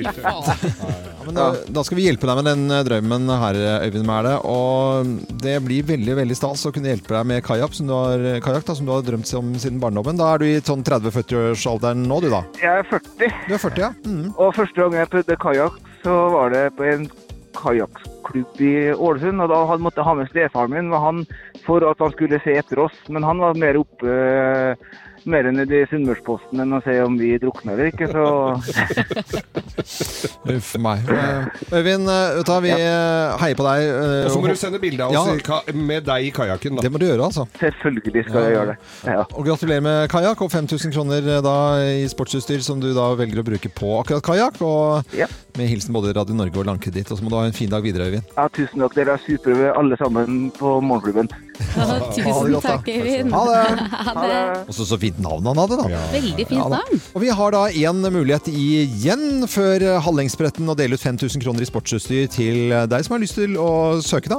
S3: Ja, men da, da skal vi hjelpe deg med den eh, drømmen her, Øyvind Mæle. Og det blir veldig veldig stas å kunne hjelpe deg med kajakk, som du har, kajak, da, som du har drømt om siden barndommen. Da er du i sånn 30-40-årsalderen nå, du da.
S8: Jeg er 40.
S3: Du er 40, ja. Mm.
S8: Og første gang jeg prøvde kajakk, så var det på en kajakklubb i Ålesund. Og da han måtte jeg ha med stefaren min og han for at han skulle se etter oss. Men han var mer oppe eh, mer enn i Sunnmørsposten enn å se om vi drukna eller ikke, så
S3: Uff meg. Eh, Øyvind, eh, vet du, hva, vi eh, heier på deg. eh,
S5: Og så må du sende bilde av oss
S3: Ja.
S5: i ka- med deg i kajakken.
S3: Det må du gjøre, altså.
S8: Selvfølgelig skal jeg gjøre det.
S3: Og gratulerer med kajakk og 5000 kroner eh, da i sportsutstyr som du da velger å bruke på akkurat kajakk. Og med hilsen både Radio Norge og Landkreditt. Og så må du ha en fin dag videre, Øyvind.
S8: ja, tusen takk. Dere er superbe alle sammen på morgenklubben.
S3: Ha det
S4: Tusen
S3: godt, da.
S4: takk, Øyvind.
S3: Ha det.
S4: Ha det.
S3: Og så så fint navn han hadde, da.
S4: Veldig fint
S3: Ja, da.
S4: navn.
S3: Og vi har da én mulighet igjen før eh, Hallingsbretten å dele ut 5000 kroner i sportsutstyr til eh, deg som har lyst til å søke, da.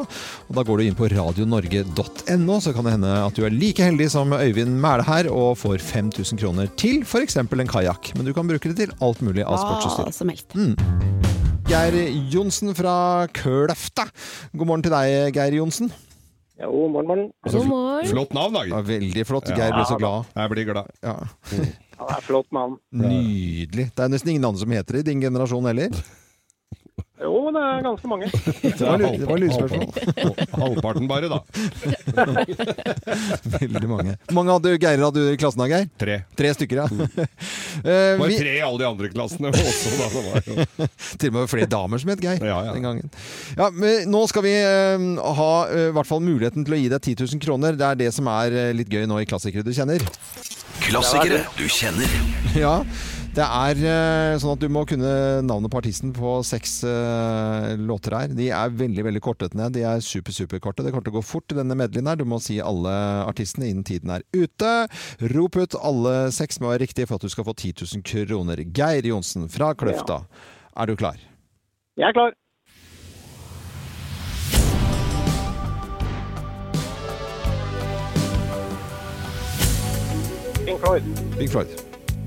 S3: Og da går du inn på radionorge.no, så kan det hende at du er like heldig som Øyvind Mæle her og får 5000 kroner til f.eks. en kajakk. Men du kan bruke det til alt mulig av
S4: Ah,
S6: Ah,
S3: sportsutstyr. Mm.
S4: Hva som helst.
S3: Geir Johnsen fra Kløfta. God morgen til deg, Geir Johnsen.
S19: Jo, morgen, morgen.
S3: Altså,
S5: Flott navn, da.
S3: Ja, veldig flott.
S5: Ja.
S3: Geir ble så glad.
S5: Jeg blir glad.
S3: Ja.
S19: Han er flott mann.
S3: Nydelig. Det er nesten ingen andre som heter det i din generasjon heller.
S19: Jo, det er ganske mange.
S3: Det var, lu- det var lurespørsmål.
S5: Halvparten bare, da.
S3: Veldig mange. Mm. mange hadde Geir hadde du i klassen da, Geir?
S5: Tre.
S3: stykker, ja.
S5: Det
S3: Eh,
S5: var
S3: vi-
S5: tre i alle de andre klassene også, da. Det var jo.
S3: Til og med flere damer som het Geir den gangen. Ja, men nå skal vi eh, ha eh, i hvert fall muligheten til å gi deg 10 000 kroner. Det er det som er eh, litt gøy nå i Klassikere du kjenner.
S9: Klassikere du kjenner.
S3: Ja, det er eh, sånn at du må kunne navnet på artisten på seks eh, låter her. De er veldig, veldig kortet ned. De er super, super korte. Det kommer til å gå fort i denne medleyen her. Du må si alle artistene innen tiden er ute. Rop ut alle seks må være riktige for at du skal få 10 000 kroner. Geir Johnsen fra Kløfta, er du klar?
S19: Jeg er klar. Pink Floyd.
S3: Big Floyd.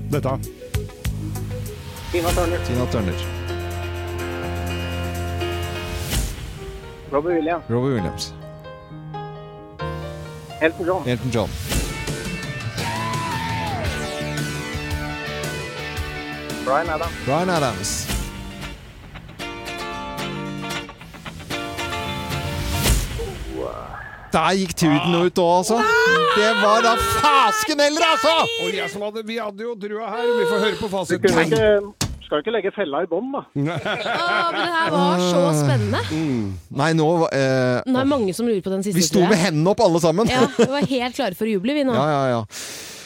S5: Dette.
S19: Tina Turner.
S3: Tina Turner.
S19: Robbie Williams.
S3: Robbie Williams.
S19: Elton John.
S3: Elton John.
S19: Bryan Adams.
S3: Bryan Adams. Der gikk tuten ut òg, altså. Det var da fasken heller, altså!
S5: Og jeg som hadde, vi hadde jo trua her. Vi får høre på
S19: Du
S5: fasiten.
S19: kunne ikke, skal ikke legge fella i bånn, da.
S6: men det her var så
S3: Ah.
S6: spennende.
S3: Nei, nå eh,
S6: Nå er det mange som lurer på den siste.
S3: Vi sto med hendene opp, alle sammen.
S6: Ja, Vi var helt klare for å juble, vi nå.
S3: Ja, ja, ja.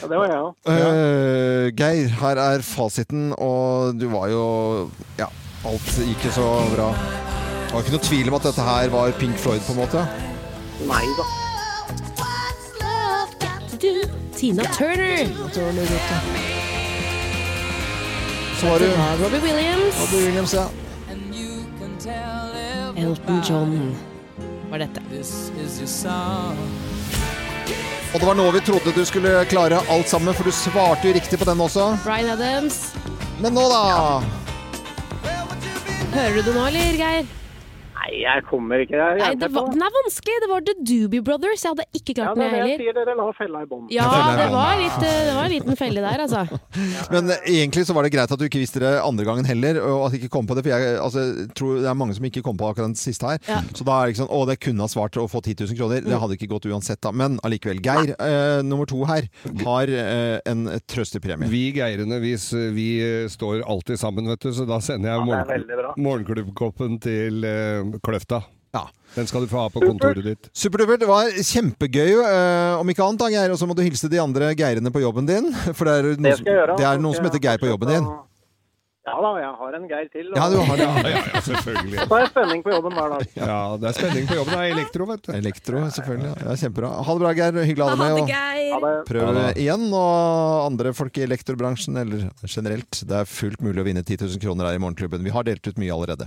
S19: Ja, det var jeg òg.
S3: Eh, Geir, her er fasiten, og du var jo Ja, alt gikk jo så bra. Det var ikke noe tvil om at dette her var Pink Floyd, på en måte.
S19: Nei da.
S6: Du, Tina Turner.
S3: Så var det
S6: Robbie Williams.
S3: Robbie Williams, ja.
S6: Elton John var dette.
S3: Og det var nå vi trodde du skulle klare alt sammen, for du svarte jo riktig på den også.
S6: Bryan Adams.
S3: Men nå, da!
S6: Hører du det nå, eller, Geir?
S19: Nei, jeg kommer ikke der.
S6: Nei, det var, den er vanskelig. Det var The Doobie Brothers. Jeg hadde ikke
S19: ja,
S6: klart
S19: det
S6: den,
S19: er det
S6: jeg
S19: jeg
S6: heller.
S19: sier. Dere la fella i bånn.
S6: Ja,
S3: Fella i
S6: det
S3: bånn.
S6: var, litt, eh, det var en liten felle der, altså.
S3: Men egentlig så var det greit at du ikke visste det andre gangen heller, og at jeg ikke kom på det, for jeg altså, tror det er mange som ikke kom på akkurat den siste her.
S6: Ja.
S3: Så da er det ikke sånn Å, det kunne ha svart å få 10 000 kroner. Det hadde ikke gått uansett, da. Men allikevel. Geir, eh, nummer to her, har eh, en trøstepremie.
S5: Vi geirene vi, s- vi eh, står alltid sammen, vet du, så da sender
S19: det
S5: jeg
S19: er
S5: morgen,
S19: veldig bra.
S5: morgenklubbkoppen til eh, Kløfta. Den skal du få ha på kontoret ditt.
S3: Superdupert. Det var kjempegøy, eh, om ikke annet, da, Geir. Og så må du hilse de andre Geirene på jobben din. For det er noen,
S10: Det skal jeg gjøre.
S3: det er noen som heter Geir på jobben din.
S10: Ja da, jeg har en Geir til. og-
S3: Ja, du har det.
S5: selvfølgelig.
S10: Så er det spenning på jobben hver dag.
S5: Ja, det er spenning på jobben. Det er elektro, vet du.
S3: Elektro, selvfølgelig. Ja, kjempebra. Ha det bra, Geir. Hyggelig å ha deg med. og- Prøv
S5: Ha det.
S3: igjen, og andre folk i elektrobransjen, eller generelt. Det er fullt mulig å vinne 10 000 kroner her i Morgenklubben. Vi har delt ut mye allerede.